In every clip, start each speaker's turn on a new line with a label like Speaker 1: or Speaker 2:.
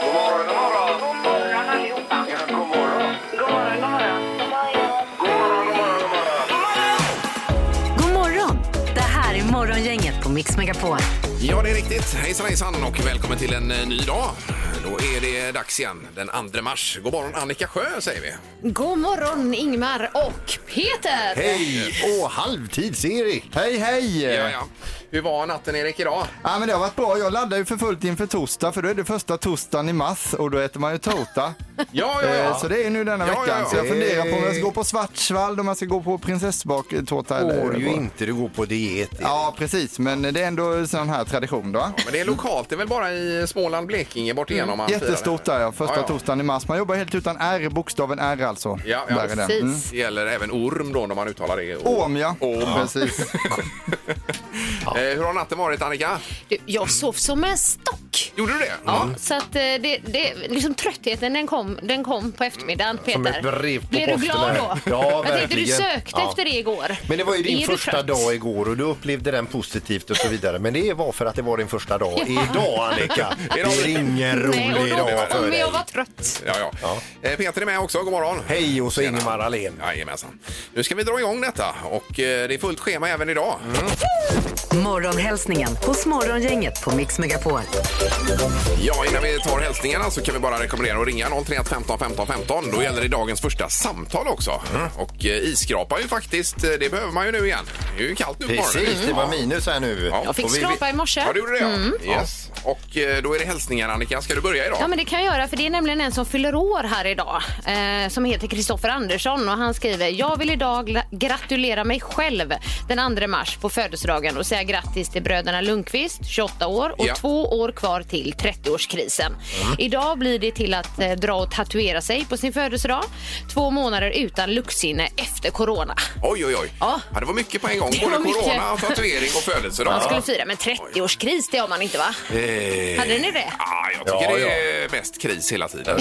Speaker 1: God morgon, god morgon.
Speaker 2: God morgon allihopa.
Speaker 1: Ja, god morgon.
Speaker 2: God morgon, god morgon.
Speaker 3: God
Speaker 1: God morgon, god morgon, god morgon.
Speaker 3: morgon! Det här är Morgongänget på Mix Megapol.
Speaker 4: Ja, det är riktigt. Hejsan, hejsan och välkommen till en eh, ny dag. Då är det dags igen, den 2 mars. God morgon Annika Sjö säger vi.
Speaker 5: God morgon Ingmar och Peter!
Speaker 6: Hej! Och halvtids-Erik! Hej, hej!
Speaker 4: Ja, ja. Hur var natten Erik idag?
Speaker 6: Ja, men det har varit bra. Jag laddar ju för fullt inför torsdag, för då är det första torsdagen i mars och då äter man ju tårta.
Speaker 4: Ja,
Speaker 6: Eh, Så det är ju nu denna
Speaker 4: Ja,
Speaker 6: veckan.
Speaker 4: ja, Eh. ja.
Speaker 6: Så jag funderar på om jag ska gå på Svartsvall, om jag ska gå på prinsessbaktårta eller...
Speaker 7: går ju
Speaker 6: vad.
Speaker 7: inte, du går på diet.
Speaker 6: Ja, precis. Men det är ändå en sån här tradition då.
Speaker 4: Men det är lokalt, det är väl bara i Småland, Blekinge bort igenom man firar det.
Speaker 6: Mm, Jättestort där ja, första
Speaker 4: Ja, ja.
Speaker 6: torsdagen i mars. Man jobbar helt utan R, bokstaven R alltså.
Speaker 4: Ja, ja.
Speaker 6: Där är den.
Speaker 5: Precis.
Speaker 6: Mm.
Speaker 4: Det gäller även orm då när man uttalar det.
Speaker 6: Åm ja.
Speaker 4: Åm.
Speaker 6: Precis.
Speaker 4: Eh, Hur har natten varit Annika?
Speaker 5: Du, jag sov som en stock.
Speaker 4: Gjorde du det? Mm.
Speaker 5: Så att eh, det, det, liksom tröttheten den kom, den kom på eftermiddagen Peter.
Speaker 7: Som ett brev på
Speaker 5: Blev du
Speaker 7: posten
Speaker 5: glad
Speaker 7: här.
Speaker 5: då?
Speaker 7: Ja,
Speaker 5: jag tänkte du
Speaker 7: verkligen.
Speaker 5: sökte
Speaker 7: Ja.
Speaker 5: efter det igår.
Speaker 7: Men det var ju din
Speaker 5: Är du
Speaker 7: första
Speaker 5: trött?
Speaker 7: dag igår och du upplevde den positivt och så vidare. Men det var för att det var din första dag. Idag Annika, det är ingen
Speaker 5: Nej, och
Speaker 7: rolig
Speaker 5: då,
Speaker 7: dag för
Speaker 5: men
Speaker 7: dig.
Speaker 5: jag var trött.
Speaker 4: Ja, ja. Eh, Peter är med också, god morgon.
Speaker 7: Hej och så Ingemar Ahlén.
Speaker 4: Jajamensan. Nu ska vi dra igång detta och eh, det är fullt schema även idag.
Speaker 3: Morgonhälsningen hos Morgongänget på Mix Megapol.
Speaker 4: Ja, innan vi tar hälsningarna så kan vi bara rekommendera att ringa 031 15 15 15. Då gäller det dagens första samtal också.
Speaker 7: Mm.
Speaker 4: Och eh, isskrapa ju faktiskt, eh, det behöver man ju nu igen. Det är ju kallt nu på
Speaker 7: Precis, det var minus här nu.
Speaker 4: Ja.
Speaker 5: Jag fick
Speaker 7: Och vi- vi-
Speaker 5: skrapa i morse. Mm.
Speaker 4: Ja, du gjorde det ja. Yes. Och eh, då är det hälsningar Annika. Ska du börja idag?
Speaker 5: Ja, men det kan jag göra, för det är nämligen en som fyller år här idag eh, som heter Kristoffer Andersson och han skriver Jag vill idag gla- gratulera mig själv den 2 mars på födelsedagen och säga grattis till bröderna Lundqvist, 28 år och
Speaker 4: Ja.
Speaker 5: två år kvar till 30-årskrisen. Idag blir det till att eh, dra och tatuera sig på sin födelsedag. Två månader utan luktsinne efter corona.
Speaker 4: Oj, oj, oj. Ja.
Speaker 5: Ja.
Speaker 4: det var mycket på en gång.
Speaker 5: Det
Speaker 4: Både
Speaker 5: var mycket.
Speaker 4: corona, tatuering och födelsedag.
Speaker 5: Man skulle fira, men 30-årskris det har man inte va?
Speaker 7: Eh,
Speaker 5: Hade ni det?
Speaker 4: Ja, jag tycker
Speaker 7: Ja,
Speaker 4: det är mest kris hela tiden.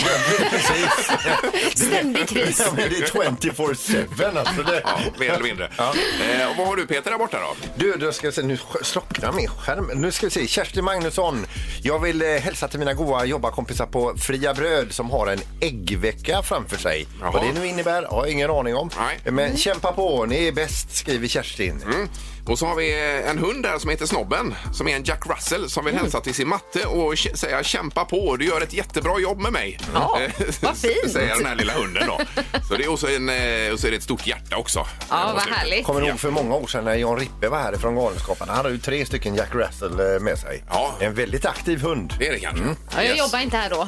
Speaker 5: Ständig kris.
Speaker 7: ja, men det är 24-7 alltså. Det.
Speaker 4: Ja, mer eller mindre. Eh, och vad har du Peter där borta då?
Speaker 7: Du, då ska jag se, nu sk- slocknar min skärm. Nu ska vi se, Kerstin Magnusson. Jag vill eh, hälsa till mina goa jobbarkompisar på Fria Bröd som har en äggvecka framför sig.
Speaker 4: Jaha.
Speaker 7: Vad det nu innebär har jag ingen aning om.
Speaker 4: Nej.
Speaker 7: Men kämpa på, ni är bäst, skriver Kerstin.
Speaker 4: Mm. Och så har vi eh, en hund där som heter Snobben som är en Jack Russell som vill
Speaker 5: Mm.
Speaker 4: hälsa till sin matte och kä- säga kämpa på, du gör ett jättebra jobb med mig.
Speaker 5: Ja,
Speaker 4: Eh,
Speaker 5: vad fint.
Speaker 4: Säger den här lilla hunden då. Så det är också en, eh, och så är det ett stort hjärta också.
Speaker 5: Ja, vad härligt.
Speaker 7: Kommer ihåg för många år sedan när Jan Rippe var här från Galenskaparna. Han hade ju tre stycken Jack Russell eh, med sig.
Speaker 4: Ja.
Speaker 7: En väldigt aktiv hund.
Speaker 4: Det är det kanske.
Speaker 5: Mm. Ja, jag jobbar inte här då.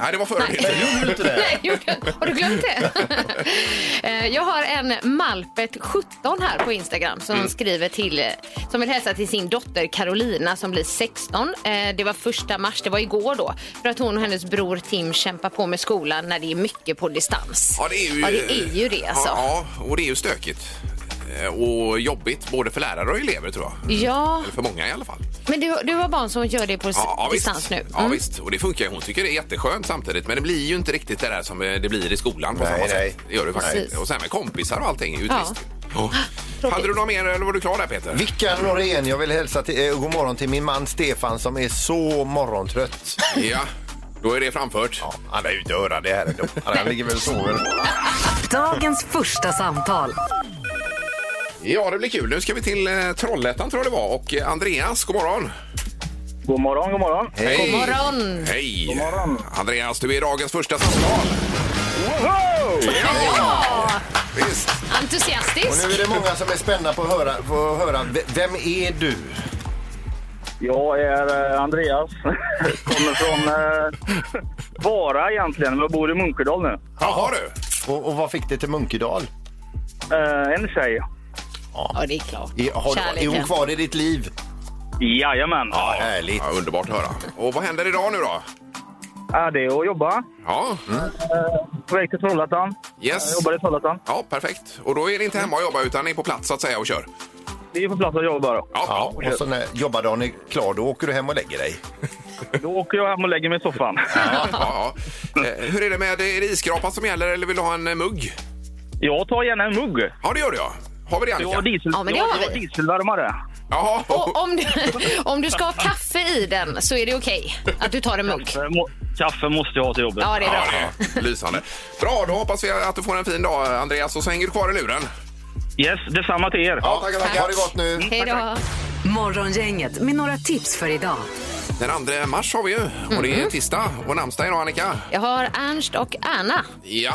Speaker 4: Nej, det var före din tid.
Speaker 7: Gjorde du inte det?
Speaker 5: Nej, gjorde- har du glömt det? Eh, Jag har en Malpet17 här på Instagram som
Speaker 7: Mm.
Speaker 5: skriver till, eh, som vill hälsa till sin dotter Carolina som blir 16. Eh, Det var första mars, det var igår då, för att hon och hennes bror Tim kämpar på med skolan när det är mycket på distans.
Speaker 4: Ja, det är ju,
Speaker 5: Ja, det, är ju det alltså. Ja,
Speaker 4: Ja, ja, och det är ju stökigt. Eh, Och jobbigt både för lärare och elever tror jag. Eller för många i alla fall.
Speaker 5: men du, du har barn som gör det på s-
Speaker 4: Ja, ja, visst.
Speaker 5: distans nu. Mm.
Speaker 4: Ja, visst. Och det funkar ju. Hon tycker det är jätteskönt samtidigt. Men det blir ju inte riktigt det där som eh, det blir i skolan på
Speaker 7: Nej,
Speaker 4: samma
Speaker 7: nej.
Speaker 4: sätt. Det gör det faktiskt.
Speaker 5: Precis.
Speaker 4: Och sen med kompisar och allting är ju
Speaker 5: Ja.
Speaker 4: trist. Ja. Hade du något mer eller var du klar där Peter?
Speaker 7: Vickan Norén, jag vill hälsa till, eh, god morgon till min man Stefan som är så morgontrött.
Speaker 4: Ja, då är det framfört.
Speaker 7: Ja, han är ju inte höra det här ändå. Han han ligger väl och sover.
Speaker 3: Dagens första samtal.
Speaker 4: Ja, det blir kul. Nu ska vi till eh, Trollhättan tror jag det var. Och eh, Andreas, god morgon.
Speaker 8: God morgon, god morgon.
Speaker 4: Hej.
Speaker 5: God Mm. morgon!
Speaker 4: Hej!
Speaker 8: God morgon.
Speaker 4: Andreas, du är dagens första samtal.
Speaker 5: Ja,
Speaker 4: Visst.
Speaker 7: Och
Speaker 5: entusiastisk!
Speaker 7: nu är det många som är spända på att höra, på att höra v- vem är du?
Speaker 8: Jag är eh, Andreas. Kommer från eh, Vara egentligen, men bor i Munkedal nu.
Speaker 4: Jaha du.
Speaker 7: Och, och vad fick det till Munkedal?
Speaker 8: Eh, en tjej.
Speaker 5: Ja, det är klart.
Speaker 7: I, har, du- är hon
Speaker 5: Kärleken.
Speaker 7: kvar i ditt liv?
Speaker 8: Jajamän.
Speaker 7: Ja, härligt.
Speaker 4: Ja, underbart att höra. Och vad händer idag nu då?
Speaker 8: Är det att jobba.
Speaker 4: Ja,
Speaker 8: På väg till Trollhättan. Jag
Speaker 4: yes.
Speaker 8: jobbar i Trollhättan.
Speaker 4: Ja, perfekt. Och då är det inte hemma och jobba utan ni är på plats så att säga och kör.
Speaker 8: Vi är på plats att jobba bara.
Speaker 4: Ja,
Speaker 7: Ja, och så när jobbardagen är klar, då åker du hem och lägger dig.
Speaker 8: Då åker jag hem och lägger mig i soffan.
Speaker 4: ja, ja, ja. Eh, Hur är det med, är det isskrapan som gäller eller vill du ha en eh, mugg?
Speaker 8: Jag tar gärna en mugg.
Speaker 4: Ja, det gör du ja. Har vi det
Speaker 8: Jag har
Speaker 4: Annika?
Speaker 8: diesel,
Speaker 5: Ja, men det
Speaker 8: jag,
Speaker 5: har
Speaker 8: jag
Speaker 5: vi.
Speaker 8: dieselvärmare.
Speaker 4: Jaha.
Speaker 5: Och om du, om du ska ha kaffe i den så är det okej att du tar en mugg.
Speaker 8: Kaffe må- Kaffe måste jag ha till jobbet.
Speaker 5: Ja, det är bra.
Speaker 4: Ja, det är lysande. Bra, då hoppas vi att du får en fin dag Andreas och så hänger du kvar i luren.
Speaker 8: Yes, detsamma till er.
Speaker 7: Ja, tackar, tackar. Ha det gott nu.
Speaker 5: Hej då.
Speaker 3: Morgongänget med några tips för idag.
Speaker 4: Den 2 mars har vi ju och
Speaker 5: Mm-hmm.
Speaker 4: det är tisdag och namnsdag idag Annika.
Speaker 5: Jag har Ernst och Anna.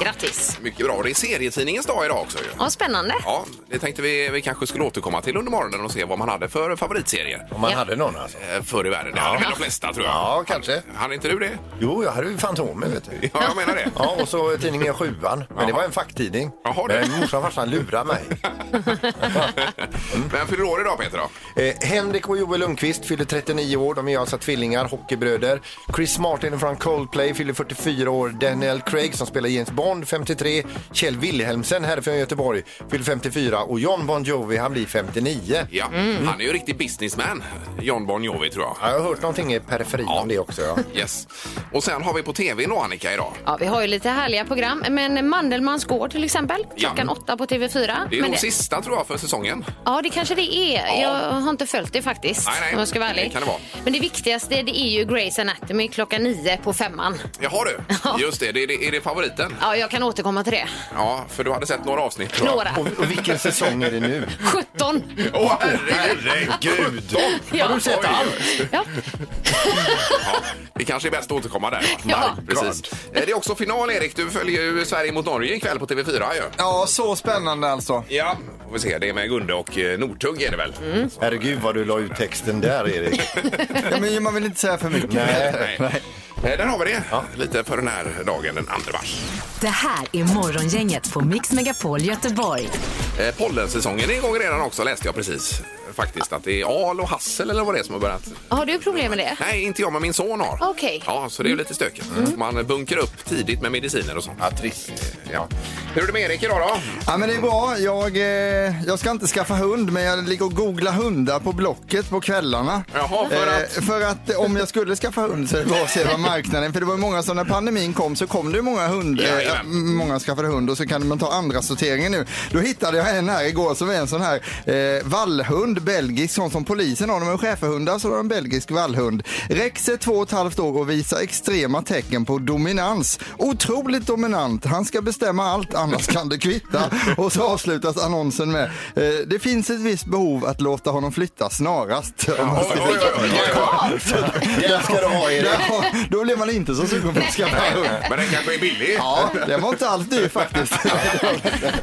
Speaker 5: Grattis.
Speaker 4: Mycket bra. Det är serietidningens dag idag också ju.
Speaker 5: Ja, spännande.
Speaker 4: Ja, det tänkte vi, vi kanske skulle återkomma till under morgonen och se vad man hade för favoritserier
Speaker 7: Om man
Speaker 5: Ja.
Speaker 7: hade någon alltså.
Speaker 4: eh, förr i världen. Det hade väl de flesta tror jag.
Speaker 7: Ja, kanske.
Speaker 4: Hade inte du det?
Speaker 7: Jo, jag hade ju Fantomen vet du.
Speaker 4: Ja, jag menar det.
Speaker 7: Ja, och så tidningen Sjuan. Men det var en facktidning.
Speaker 4: Jaha, du.
Speaker 7: Men morsan och farsan lurade mig.
Speaker 4: Vem fyller år idag Peter då?
Speaker 7: Eh, Henrik och Joel Lundqvist fyller 39 år. De är alltså tvillingar, hockeybröder. Chris Martin från Coldplay fyller 44 år. Daniel Craig som spelar James Bond 53. Kjell Wilhelmsen härifrån Göteborg fyller 54 och John Bon Jovi han blir 59.
Speaker 4: Ja,
Speaker 5: Mm.
Speaker 4: han är ju riktig businessman, John Bon Jovi tror jag.
Speaker 7: Ja, jag har hört någonting i periferin om det också. Ja.
Speaker 4: Yes. Och sen har vi på tv då Annika idag.
Speaker 5: Ja, vi har ju lite härliga program, men Mandelmans gård till exempel,
Speaker 4: Ja.
Speaker 5: klockan åtta på TV4.
Speaker 4: Det är
Speaker 5: men
Speaker 4: nog sista tror jag för säsongen.
Speaker 5: Ja, det kanske det är. Jag har inte följt det faktiskt.
Speaker 4: Nej, nej.
Speaker 5: Om jag ska vara
Speaker 4: Det
Speaker 5: ärlig.
Speaker 4: kan det vara.
Speaker 5: Men det viktigaste det är ju Grey's Anatomy klockan nio på femman.
Speaker 4: Jaha du, just det. det, är- det är det favoriten?
Speaker 5: Ja, jag kan återkomma till det.
Speaker 4: Ja, för du hade sett några avsnitt. tror jag.
Speaker 5: Några.
Speaker 7: Och, och vilken säsong är det nu?
Speaker 5: 17.
Speaker 4: Åh herregud!
Speaker 5: Ja.
Speaker 7: Har du sett
Speaker 4: Oj.
Speaker 7: allt?
Speaker 5: Ja.
Speaker 4: Ja, det kanske är bäst att återkomma där. va?
Speaker 5: Ja.
Speaker 4: Nej, Precis. Eh, Det är också final Erik, du följer ju Sverige mot Norge ikväll på TV4 ju.
Speaker 6: Ja, så spännande alltså.
Speaker 4: Ja, får vi se. Det är med Gunde och eh, Nordtugg är det väl?
Speaker 5: Mm.
Speaker 7: Herregud vad du la ut texten där Erik.
Speaker 6: Ja, men man vill inte säga för mycket.
Speaker 4: Nej. Eh, Där har vi det, lite för den här dagen, den 2 mars.
Speaker 3: Det här är Morgongänget på Mix Megapol Göteborg.
Speaker 4: Eh, Pollensäsongen är igång redan också läste jag precis. Faktiskt att det är al och hassel eller vad det är som har börjat.
Speaker 5: Har du problem med det?
Speaker 4: Nej, inte jag men min son har.
Speaker 5: Okej. Mm.
Speaker 4: Ja, så det är ju lite stökigt. Man bunkrar upp tidigt med mediciner och sånt.
Speaker 7: Ja, trist.
Speaker 4: Ja. Hur är det med Erik idag då?
Speaker 6: Ja, men det är bra. Jag, eh, jag ska inte skaffa hund, men jag ligger och googlar hundar på Blocket på kvällarna.
Speaker 4: Jaha, för
Speaker 6: Eh,
Speaker 4: att-
Speaker 6: för att eh, om jag skulle skaffa hund så är det bara att se vad marknaden... För det var ju många som när pandemin kom så kom det ju många hund, eh,
Speaker 4: Jajamän.
Speaker 6: m- många skaffade hund och så kan man ta andra sorteringen nu. Då hittade jag en här igår som är en sån här eh, vallhund, belgisk, sån som polisen har. De är schäferhundar så de har en belgisk vallhund. Rex är två och ett halvt år och visar extrema tecken på dominans. Otroligt dominant. Han ska bestämma allt, annars kan det kvitta. Och så avslutas annonsen med eh, det finns ett visst behov att låta honom flytta snarast. Om man
Speaker 4: Oj, oj, oj, oj, oj.
Speaker 7: Den ska du ha Erik.
Speaker 6: där, då blir man inte så sugen på att skaffa hund.
Speaker 4: Men den kanske är billig.
Speaker 6: Ja, den var inte alls dyr faktiskt.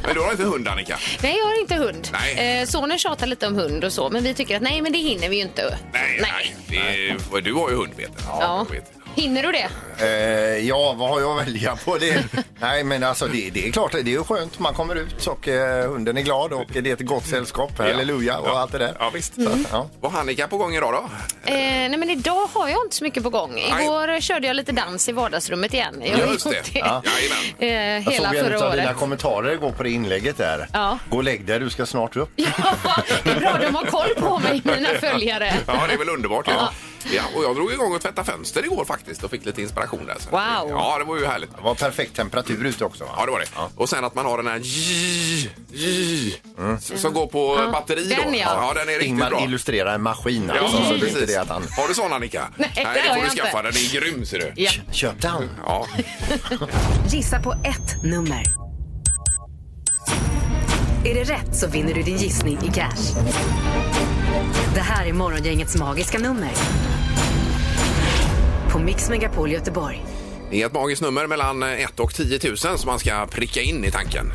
Speaker 4: Men du har inte hund Annika?
Speaker 5: Nej, jag har inte hund.
Speaker 4: Nej.
Speaker 5: Eh, sonen tjatar lite om hund och så, men vi tycker att nej, men det hinner vi ju inte.
Speaker 4: Nej, nej. Det är, du har ju hund Peter.
Speaker 5: Ja.
Speaker 4: jag vet.
Speaker 5: Hinner du det?
Speaker 7: Eh, ja, vad har jag att välja på? Det? Nej, men alltså det, det är klart, det är ju skönt. Man kommer ut och eh, hunden är glad och det är ett gott sällskap. Halleluja och
Speaker 4: Ja.
Speaker 7: allt det där.
Speaker 4: Ja, visst.
Speaker 5: Mm.
Speaker 4: Mm.
Speaker 7: Ja.
Speaker 4: Var Annika på gång idag då?
Speaker 5: Eh, nej, men idag har jag inte så mycket på gång. Igår körde jag lite dans i vardagsrummet igen. Jag har
Speaker 4: Just
Speaker 5: gjort
Speaker 4: det. Ja. Jajamän.
Speaker 5: Eh,
Speaker 7: Jag
Speaker 5: hela
Speaker 7: såg en
Speaker 5: förra
Speaker 7: av
Speaker 5: året.
Speaker 7: dina kommentarer igår på det inlägget där.
Speaker 5: Ja.
Speaker 7: Gå och lägg dig, du ska snart upp.
Speaker 5: Ja, det är bra de har koll på mig, mina följare.
Speaker 4: Ja, det är väl underbart. Ja. Ja, och jag drog igång och tvätta fönster igår faktiskt och fick lite inspiration där. Så.
Speaker 5: Wow.
Speaker 4: Ja, det var ju härligt.
Speaker 7: Det var perfekt temperatur ute också.
Speaker 4: Ja,
Speaker 7: Va?
Speaker 4: det var det. Och sen att man har den här j, j, s- som går på batteri då.
Speaker 5: Den, ja.
Speaker 4: den är riktigt
Speaker 7: Ingmar
Speaker 4: bra.
Speaker 7: illustrerar en maskin
Speaker 4: Ja,
Speaker 7: alltså, så det är inte
Speaker 4: precis.
Speaker 7: det att han...
Speaker 4: Har du sån Annika?
Speaker 5: Nej, det
Speaker 4: det
Speaker 5: har
Speaker 4: får du
Speaker 5: jag inte.
Speaker 4: skaffa. Den är grym ser du.
Speaker 5: Ja.
Speaker 7: Köp den!
Speaker 4: Ja.
Speaker 3: Gissa på ett nummer. Är det rätt så vinner du din gissning i cash. Det här är Morgongängets magiska nummer. På Mix Megapol Göteborg.
Speaker 4: Det är ett magiskt nummer mellan 1 och 10 000 som man ska pricka in i tanken.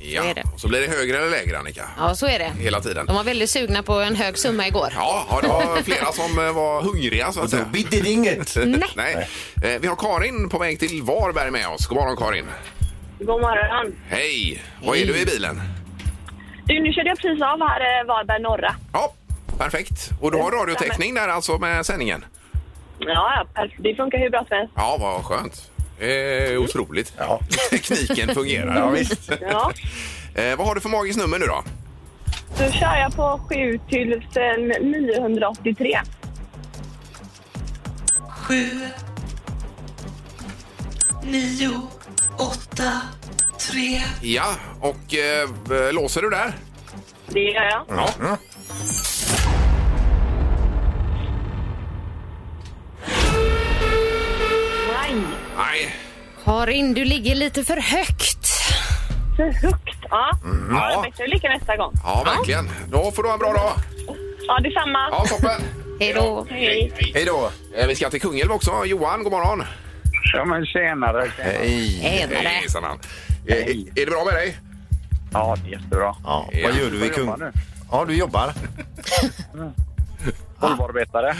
Speaker 4: Ja.
Speaker 5: är det.
Speaker 4: Och så blir det högre eller lägre Annika.
Speaker 5: ja, så är det.
Speaker 4: Hela tiden.
Speaker 5: De var väldigt sugna på en hög summa igår.
Speaker 4: Ja, ja, det var flera som eh, var hungriga så att säga.
Speaker 7: Bidde det inget!
Speaker 5: Nej.
Speaker 4: Nej. Eh, Vi har Karin på väg till Varberg med oss. God morgon Karin.
Speaker 9: God morgon.
Speaker 4: Hej! Vad är du i bilen?
Speaker 9: Du, nu körde jag precis av här eh, Varberg norra.
Speaker 4: Ja, perfekt. Och du har radiotäckning där alltså med sändningen?
Speaker 9: Ja, ja, perfekt. det funkar hur bra som helst.
Speaker 4: Ja, vad skönt. Eh, otroligt. Tekniken fungerar. Ja, visst.
Speaker 9: Ja.
Speaker 4: Eh, vad har du för magiskt nummer nu då?
Speaker 9: Då kör jag på 7983.
Speaker 10: 7, 9, 8, 3.
Speaker 4: Ja, och eh, låser du där?
Speaker 9: Det gör jag.
Speaker 7: Ja.
Speaker 9: Nej,
Speaker 4: Nej.
Speaker 5: Karin, du ligger lite för högt.
Speaker 9: för högt. Ja, ja.
Speaker 4: Ja.
Speaker 9: bättre lycka nästa gång.
Speaker 4: ja, verkligen. Då får du ha en bra dag.
Speaker 9: Ja, detsamma.
Speaker 4: Ja, toppen.
Speaker 5: Hej då.
Speaker 9: Hej.
Speaker 7: Hej då.
Speaker 4: Eh, Vi ska till Kungälv också. Johan, god morgon.
Speaker 8: Ja, men tjenare.
Speaker 7: Hej.
Speaker 5: Tjenare.
Speaker 4: Hejsan, han. Eh, Är det bra med dig?
Speaker 8: Ja, det är jättebra.
Speaker 7: Ja, vad gör du i
Speaker 8: Jag jobbar
Speaker 7: Kung...
Speaker 8: nu.
Speaker 7: Ja, du jobbar.
Speaker 8: Volvoarbetare.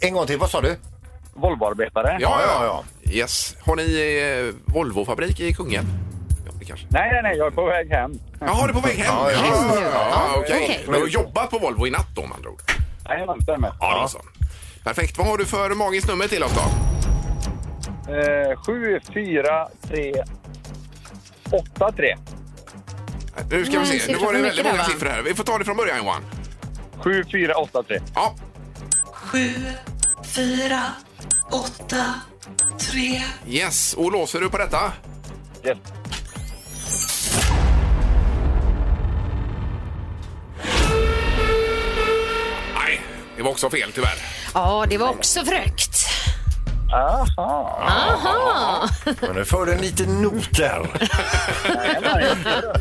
Speaker 7: En gång till, vad sa du?
Speaker 8: Volvoarbetare?
Speaker 7: ja.
Speaker 4: Yes. Har ni eh, Volvo-fabrik i Kungälv? Ja, det kanske.
Speaker 8: Nej, nej, nej, jag är på väg hem.
Speaker 4: Jaha, du är på väg hem?
Speaker 7: Ja, ja.
Speaker 4: ja, ja, ja, okej.
Speaker 5: Okej.
Speaker 4: Men du har jobbat på Volvo i natt då, med andra ord?
Speaker 8: Jajamän, stämmer.
Speaker 4: Ja, då så. Perfekt. Vad har du för magiskt nummer till oss då?
Speaker 8: Eh, 7, 4, 3, 8, 3.
Speaker 4: Nu ska vi
Speaker 5: Nej,
Speaker 4: se. Nu
Speaker 5: siffror
Speaker 4: var det
Speaker 5: för
Speaker 4: väldigt
Speaker 5: mycket
Speaker 4: många
Speaker 5: där, va?
Speaker 4: siffror här. Vi får ta det från början, Johan.
Speaker 8: 7, 4, 8, 3.
Speaker 4: Ja. Yes, och låser du på detta?
Speaker 8: Yes.
Speaker 4: Nej, det var också fel tyvärr.
Speaker 5: Ja, det var också för högt.
Speaker 8: Aha.
Speaker 5: Aha.
Speaker 7: Men nu får du en liten not där.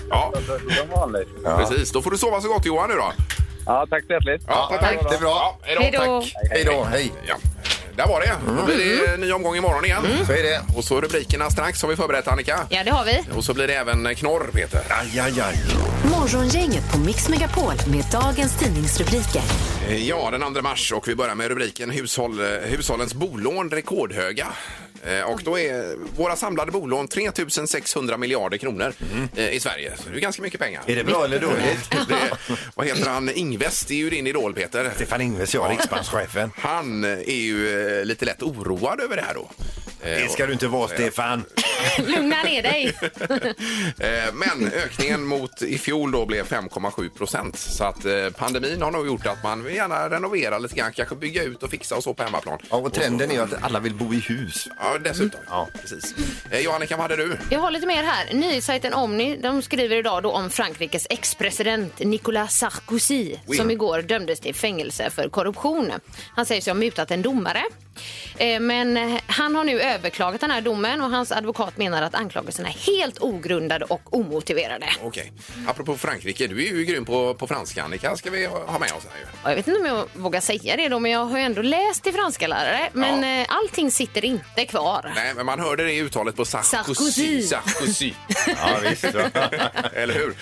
Speaker 4: Ja,
Speaker 8: Som vanligt.
Speaker 4: precis. Då får du sova så gott Johan nu då.
Speaker 8: Ja, tack så hjärtligt.
Speaker 4: Ja,
Speaker 7: tack. Det är bra.
Speaker 4: Ja,
Speaker 5: Hej
Speaker 4: hej då.
Speaker 5: då.
Speaker 4: Tack.
Speaker 7: Hej då, hej.
Speaker 4: Ja, där var det. Då blir det en ny omgång imorgon igen.
Speaker 5: Mm.
Speaker 7: Så är det.
Speaker 4: Och så rubrikerna strax har vi förberett Annika.
Speaker 5: Ja, det har vi.
Speaker 4: Och så blir det även knorr Peter.
Speaker 7: Aj, aj, aj.
Speaker 3: Morgongänget på Mix Megapol med dagens tidningsrubriker.
Speaker 4: Eh, Ja, den 2 mars och vi börjar med rubriken Hushåll, eh, Hushållens bolån rekordhöga. Eh, Och då är våra samlade bolån 3 600 miljarder kronor eh, i Sverige. Så det är ganska mycket pengar.
Speaker 7: Mm. Är det bra eller dåligt?
Speaker 4: Det, vad heter han? Ingves, det är ju din idol Peter.
Speaker 7: Stefan Ingves, ja, riksbankschefen.
Speaker 4: Han är ju eh, lite lätt oroad över det här då. Eh,
Speaker 7: Det ska du inte vara, Stefan.
Speaker 5: Lugna ner dig.
Speaker 4: Eh, Men ökningen mot i fjol då blev 5,7 procent. Så att eh, pandemin har nog gjort att man vill gärna renovera lite grann, kanske bygga ut och fixa och så på hemmaplan.
Speaker 7: Ja, och trenden är ju att alla vill bo i hus.
Speaker 4: Ja, dessutom.
Speaker 7: Ja.
Speaker 4: Precis. Eh, Johannika, vad hade du?
Speaker 5: Jag har lite mer här. Nyhetssajten Omni de skriver idag då om Frankrikes ex-president Nicolas Sarkozy
Speaker 4: Oui.
Speaker 5: som igår dömdes till fängelse för korruption. Han sägs ju ha mutat en domare. Eh, Men eh, han har nu överklagat den här domen och hans advokat menar att anklagelserna är helt ogrundade och omotiverade.
Speaker 4: Okej. Apropå Frankrike, du är ju grym på, på franska, Annika, ska vi ha ha med oss här ju.
Speaker 5: Och Jag vet inte om jag vågar säga det då, men jag har ju ändå läst till franska lärare. Men eh, allting sitter inte kvar.
Speaker 4: Nej, men man hörde det i uttalet på Sarkozy.
Speaker 5: Sarkozy.
Speaker 4: Sarkozy.
Speaker 7: Ja, visst.
Speaker 4: Eller hur?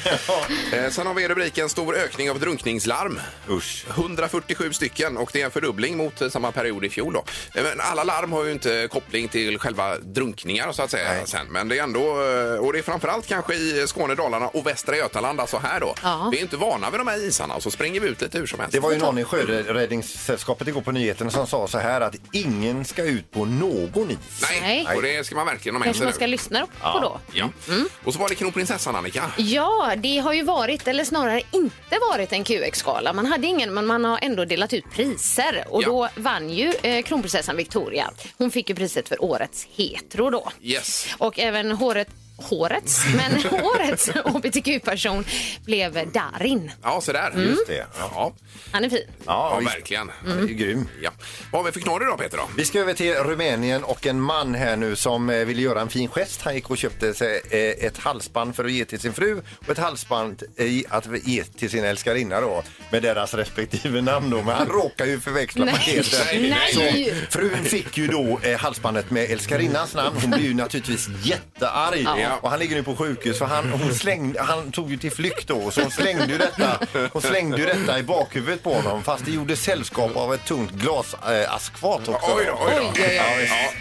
Speaker 4: Eh, Sen har vi i rubriken Stor ökning av drunkningslarm.
Speaker 7: Usch.
Speaker 4: 147 stycken och det är en fördubbling mot eh, samma period i fjol. Då. Eh, Men alla larm har ju inte koppling till själva drunkningar så att säga. Sen. Men det är ändå, eh, och det är framförallt kanske i Skåne, Dalarna och Västra Götaland, alltså här då.
Speaker 5: Ja.
Speaker 4: Vi är inte vana vid de här isarna så springer vi ut lite hur som helst.
Speaker 7: Det var ju någon i Sjöräddningssällskapet igår på nyheterna som sa så här att ingen ska ut på någon is.
Speaker 4: Nej,
Speaker 5: Nej.
Speaker 4: och det ska man verkligen ha med
Speaker 5: Kanske
Speaker 4: sig
Speaker 5: man ska
Speaker 4: nu.
Speaker 5: lyssna på då. Mm.
Speaker 4: Ja. Och så var det kronprinsessan Annika.
Speaker 5: Ja, det har ju varit, eller snarare inte varit, en QX-skala. Man hade ingen, men man har ändå delat ut priser. Och
Speaker 4: Ja.
Speaker 5: då vann ju eh, kronprinsessan Victoria. Hon fick ju priset för årets hetero då.
Speaker 4: Yes.
Speaker 5: Och även håret, hårets, men årets hbtq-person blev Darin.
Speaker 4: Ja, så där.
Speaker 5: Mm.
Speaker 4: Just
Speaker 7: det. Ja.
Speaker 4: Ja,
Speaker 5: Han är fin.
Speaker 4: ja,
Speaker 7: Ja, visst.
Speaker 4: verkligen.
Speaker 5: Mm.
Speaker 7: Det är ju grym.
Speaker 4: Ja. Vad har vi för knorr idag Peter? Då?
Speaker 7: Vi ska över till Rumänien och en man här nu som eh, ville göra en fin gest. Han gick och köpte sig eh, ett halsband för att ge till sin fru och ett halsband eh, att ge till sin älskarinna då med deras respektive namn då. Men han råkar ju förväxla
Speaker 5: Nej.
Speaker 7: paketen.
Speaker 4: Nej,
Speaker 5: nej.
Speaker 7: Så frun fick ju då eh, halsbandet med älskarinnans namn. Hon blev ju naturligtvis jättearg
Speaker 4: Ja.
Speaker 7: och han ligger nu på sjukhus för han, hon slängde, han tog ju till flykt då så hon slängde ju detta, hon slängde ju detta i bakhuvudet på honom fast det gjorde sällskap av ett tungt glasaskfat också.
Speaker 4: Oj då, oj då.
Speaker 5: Oj, oj, oj.
Speaker 4: Ja,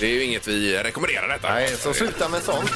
Speaker 4: det är ju inget vi rekommenderar detta.
Speaker 7: Nej, så sluta med sånt.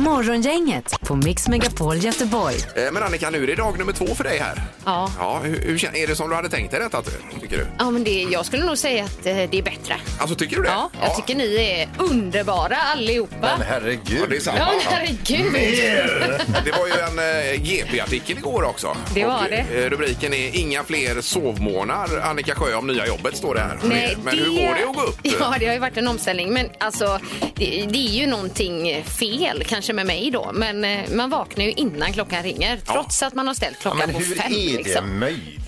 Speaker 3: Morgongänget på Mix Megapol Göteborg.
Speaker 4: Eh, Men Annika, nu är det dag nummer två för dig här.
Speaker 5: Ja.
Speaker 4: ja hur, hur, kän- är det som du hade tänkt dig detta, ty- tycker du?
Speaker 5: Ja, men det, jag skulle nog säga att eh, det är bättre.
Speaker 4: Alltså, tycker du det?
Speaker 5: Ja, jag tycker ni är underbara allihopa.
Speaker 7: Men
Speaker 4: Ja,
Speaker 7: herregud.
Speaker 4: det är sant.
Speaker 5: Ja, men herregud.
Speaker 4: Det var ju en eh, GP-artikel igår också.
Speaker 5: Det var
Speaker 4: Och, eh,
Speaker 5: det.
Speaker 4: Rubriken är Inga fler sovmorgnar. Annika Sjö om nya jobbet står det här.
Speaker 5: Nej,
Speaker 4: men hur går det att gå upp?
Speaker 5: Ja, det har ju varit en omställning. Men alltså, det, det är ju någonting fel kanske kanske med mig då, men eh, man vaknar ju innan klockan ringer trots att man har ställt
Speaker 7: Ja,
Speaker 5: klockan
Speaker 7: men
Speaker 5: på
Speaker 7: hur
Speaker 5: fem.
Speaker 7: är det
Speaker 5: liksom.
Speaker 7: möjligt?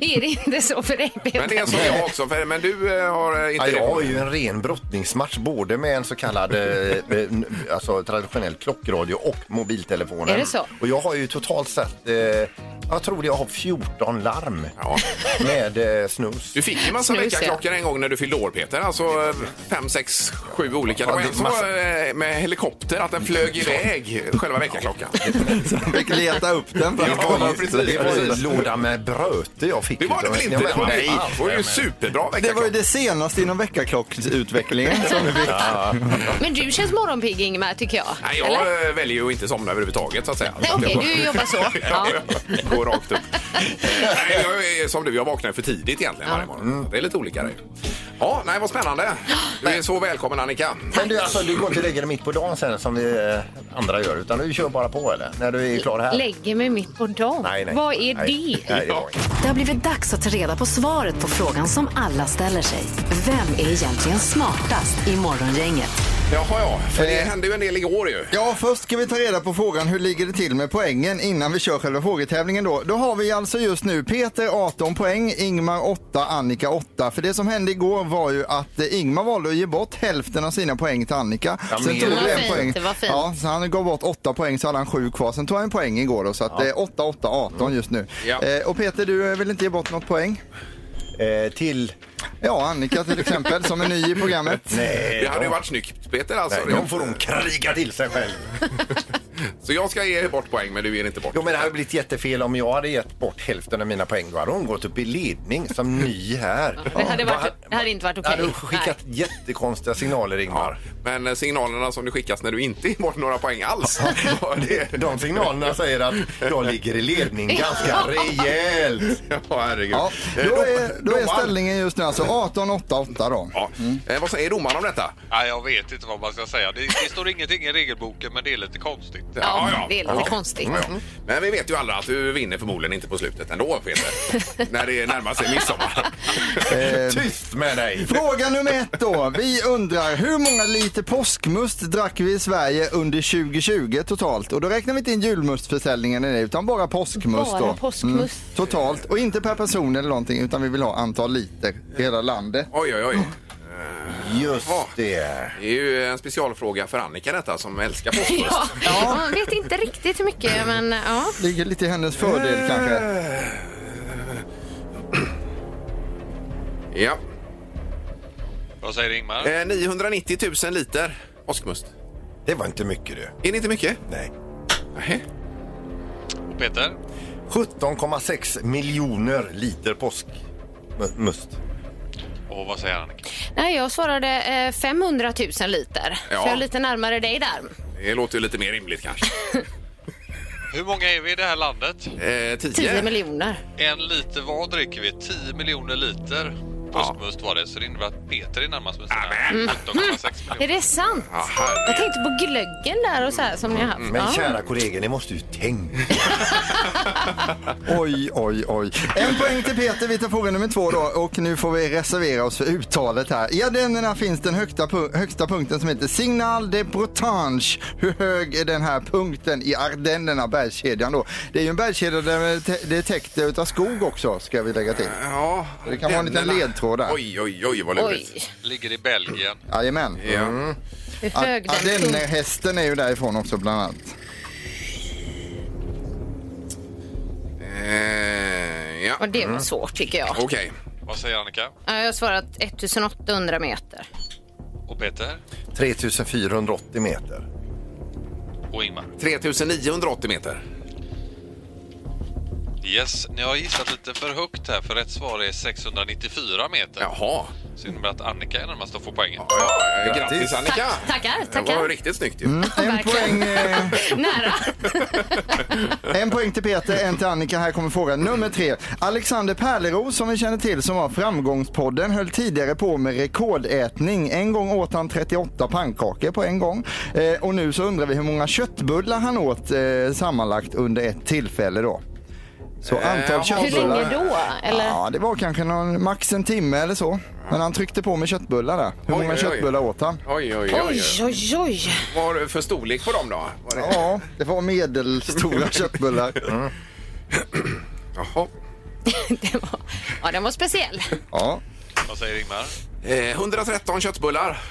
Speaker 5: är det inte så för dig, Peter?
Speaker 4: Men det är som jag också, för, men du eh, har eh, inte
Speaker 7: Ja, jag har
Speaker 4: det.
Speaker 7: ju en ren brottningsmatch både med en så kallad eh, eh, n- alltså, traditionell klockradio och mobiltelefonen.
Speaker 5: Är det så?
Speaker 7: Och jag har ju totalt sett, eh, jag tror jag har 14 larm
Speaker 4: Ja.
Speaker 7: med eh, snus.
Speaker 4: Du fick ju massa
Speaker 5: Snus, ja.
Speaker 4: väckarklockor en gång när du fyllde år Peter. Alltså eh, fem, sex, sju olika. Det var
Speaker 7: Ja, det
Speaker 4: en
Speaker 7: är
Speaker 4: som
Speaker 7: massa.
Speaker 4: var eh, med helikopter, att den flög iväg, själva väckarklockan.
Speaker 6: Man fick leta upp den. för att
Speaker 4: Ja,
Speaker 6: kolla.
Speaker 4: precis,
Speaker 7: Det var ju en
Speaker 4: precis.
Speaker 7: låda med bröte jag fick.
Speaker 4: Det var det väl inte?
Speaker 7: Ja,
Speaker 4: Det
Speaker 7: men-
Speaker 4: var, nej,
Speaker 7: Ja,
Speaker 4: det var ju en superbra
Speaker 6: Det var ju
Speaker 4: väckarklocka.
Speaker 6: det senaste inom väckarklocksutvecklingen. som vi fick.
Speaker 5: Men du känns morgonpigg, Ingemar, tycker jag.
Speaker 4: Nej,
Speaker 5: Eller?
Speaker 4: jag eh, väljer ju att inte somna överhuvudtaget så att säga.
Speaker 5: Nej, okej, du jobbar så. Ja.
Speaker 4: Gå rakt upp. Nej, jag är som du, jag vaknar för tidigt egentligen varje
Speaker 7: Mm.
Speaker 4: morgon. Det är lite olika det. Ja, nej vad spännande. Du är så välkommen Annika.
Speaker 7: Men du, alltså, du går inte och lägger dig mitt på dagen sen som vi eh, andra gör, utan du kör bara på eller? När du är klar här?
Speaker 5: Lägger mig mitt på dagen.
Speaker 7: Nej, nej.
Speaker 5: Vad är
Speaker 7: nej.
Speaker 5: det?
Speaker 7: Nej, det var inte.
Speaker 3: Det har blivit dags att ta reda på svaret på frågan som alla ställer sig. Vem är egentligen smartast i Morgongänget?
Speaker 4: Jaha ja, för det
Speaker 6: Eh.
Speaker 4: hände ju en del igår ju.
Speaker 6: Ja, först ska vi ta reda på frågan hur ligger det till med poängen innan vi kör själva frågetävlingen då. Då har vi alltså just nu Peter 18 poäng, Ingmar 8, Annika 8. För det som hände igår var ju att eh, Ingmar valde att ge bort hälften av sina poäng till Annika.
Speaker 7: Ja, men-
Speaker 5: Det var fint, det var fint.
Speaker 6: Ja, så han gav bort 8 poäng så hade han 7 kvar. Sen tog han en poäng igår då, så att eh, det är 8, 8, 18 just nu.
Speaker 4: Mm. Ja.
Speaker 6: Eh, och Peter, du eh, vill inte ge bort något poäng?
Speaker 7: Eh, till...
Speaker 6: Ja, Annika till exempel, som är ny i programmet.
Speaker 7: Nej,
Speaker 4: Det hade ju
Speaker 7: de-
Speaker 4: varit snyggt Peter alltså.
Speaker 7: Nej, de får hon kriga till sig själv.
Speaker 4: Så jag ska ge bort poäng men du ger inte bort.
Speaker 7: Jo, men det hade blivit jättefel om jag hade gett bort hälften av mina poäng. Då hade hon gått upp i ledning som ny här.
Speaker 5: Det hade,
Speaker 7: Vad-
Speaker 5: varit, det hade inte varit okej.
Speaker 7: hade hon skickat jättekonstiga signaler, Ingmar.
Speaker 4: Men eh, signalerna som du skickas när du inte ger bort några poäng alls. var det...
Speaker 7: De signalerna säger att jag ligger i ledning ganska rejält.
Speaker 4: Ja, herregud.
Speaker 6: Ja,
Speaker 4: Eh,
Speaker 6: då
Speaker 4: dom-
Speaker 6: är, då är
Speaker 4: domaren-
Speaker 6: ställningen just nu alltså 18, 8, 8 då.
Speaker 4: Ja.
Speaker 7: Mm.
Speaker 4: Eh, vad säger domaren om detta?
Speaker 10: Nej, jag vet inte vad man ska säga. Det, det står ingenting i regelboken, men det är lite konstigt.
Speaker 5: Ja, det är lite konstigt.
Speaker 4: Ja, ja. Men vi vet ju alla att du vinner förmodligen inte på slutet ändå, Peter. när det närmar sig midsommar.
Speaker 7: Eh.
Speaker 4: typ.
Speaker 7: Tyst med dig!
Speaker 6: Eh, Fråga nummer ett då. Vi undrar hur många liter påskmust drack vi i Sverige under 2020 totalt? Och då räknar vi inte in julmustförsäljningen i det, utan bara påskmust
Speaker 5: Bara
Speaker 6: då. Mm,
Speaker 5: påskmust.
Speaker 6: Totalt och inte per person eller någonting utan vi vill ha antal liter i hela landet.
Speaker 4: Oj, oj, oj.
Speaker 7: Just det.
Speaker 4: Det är ju en specialfråga för Annika detta som älskar
Speaker 5: Ja.
Speaker 4: påskmust.
Speaker 5: Ja, man vet inte riktigt hur mycket, men ja.
Speaker 6: Ligger lite i hennes
Speaker 4: Eh,
Speaker 6: fördel kanske.
Speaker 4: Ja.
Speaker 10: Vad säger Ingmar?
Speaker 4: Eh, 990 000 liter påskmust.
Speaker 7: Det var inte mycket du.
Speaker 4: Är det inte mycket?
Speaker 7: Nej.
Speaker 4: Nej.
Speaker 10: Och Peter?
Speaker 7: 17,6 miljoner liter påskmust.
Speaker 10: Och vad säger Annika?
Speaker 5: Nej, jag svarade eh, 500 000 liter.
Speaker 4: Ja.
Speaker 5: Så jag är lite närmare dig där.
Speaker 4: Det låter ju lite mer rimligt kanske.
Speaker 10: Hur många är vi i det här landet?
Speaker 4: Eh,
Speaker 5: 10
Speaker 4: 10.
Speaker 5: miljoner.
Speaker 10: En liter vad dricker vi? 10 miljoner liter påskmust var det, så det innebär att Peter är närmast med sina 17,6
Speaker 5: Är
Speaker 10: miljoner.
Speaker 5: det sant?
Speaker 4: Ja, herregud. Mm,
Speaker 5: Jag tänkte på glöggen där och så här som ni har haft.
Speaker 7: Men
Speaker 5: Ja.
Speaker 7: kära kollegor, ni måste ju tänka.
Speaker 6: Oj, oj, oj. En poäng till Peter. Vi tar fråga nummer två då och nu får vi reservera oss för uttalet här. I Ardennerna finns den högsta, pu- högsta punkten som heter Signal de Bretagne. Hur hög är den här punkten i Ardennerna, bergskedjan då? Det är ju en bergskedja där det är te- det är täckt utav skog också, ska vi lägga till.
Speaker 4: Ja,
Speaker 6: Det kan vara en liten
Speaker 4: denna.
Speaker 6: ledtråd där.
Speaker 4: Oj, oj, oj vad lurigt.
Speaker 5: Oj,
Speaker 10: Ligger i Belgien.
Speaker 6: Jajamän.
Speaker 4: Ja.
Speaker 5: hur hög den punkten-
Speaker 6: Ardennerhästen är ju därifrån också bland annat.
Speaker 4: Eh, ja.
Speaker 5: Och det var svårt tycker jag.
Speaker 4: Okej.
Speaker 10: Vad säger Annika?
Speaker 5: Ja, Jag har svarat 1800 meter.
Speaker 10: Och Peter?
Speaker 7: 3480 meter.
Speaker 10: Och Ingmar?
Speaker 4: 3980 meter.
Speaker 10: Yes, ni har gissat lite för högt här, för rätt svar är 694 meter.
Speaker 4: Jaha.
Speaker 10: Så innebär att Annika är närmast att få poängen.
Speaker 4: Ja, eh, grattis
Speaker 7: Grattis. Mm.
Speaker 4: Annika!
Speaker 5: Tack- tackar,
Speaker 4: Det var
Speaker 5: tackar.
Speaker 4: riktigt snyggt ju.
Speaker 6: En
Speaker 5: Verkligen.
Speaker 6: poäng, eh,
Speaker 5: Nära.
Speaker 6: En poäng till Peter, en till Annika. Här kommer fråga nummer tre. Alexander Pärleros som vi känner till som var Framgångspodden höll tidigare på med rekordätning. En gång åt han 38 pannkakor på en gång. Eh, och nu så undrar vi hur många köttbullar han åt eh, sammanlagt under ett tillfälle då. Så
Speaker 4: Eh,
Speaker 6: antal
Speaker 4: jaha.
Speaker 5: Hur
Speaker 6: köttbullar.
Speaker 5: länge då? Eller?
Speaker 6: Ja, det var kanske någon, max en timme eller så. Men han tryckte på med köttbullar där. Hur
Speaker 4: Oj,
Speaker 6: många
Speaker 4: oj, oj.
Speaker 6: köttbullar åt han?
Speaker 4: Oj, oj, oj.
Speaker 5: Oj, oj, oj.
Speaker 4: Vad har du för storlek på dem då? Var det...
Speaker 6: Ja, det var medelstora köttbullar.
Speaker 4: Mm. Jaha.
Speaker 5: Det var, ja, den var speciell.
Speaker 6: Ja.
Speaker 10: Vad säger Ingmar?
Speaker 4: Eh, 113 köttbullar.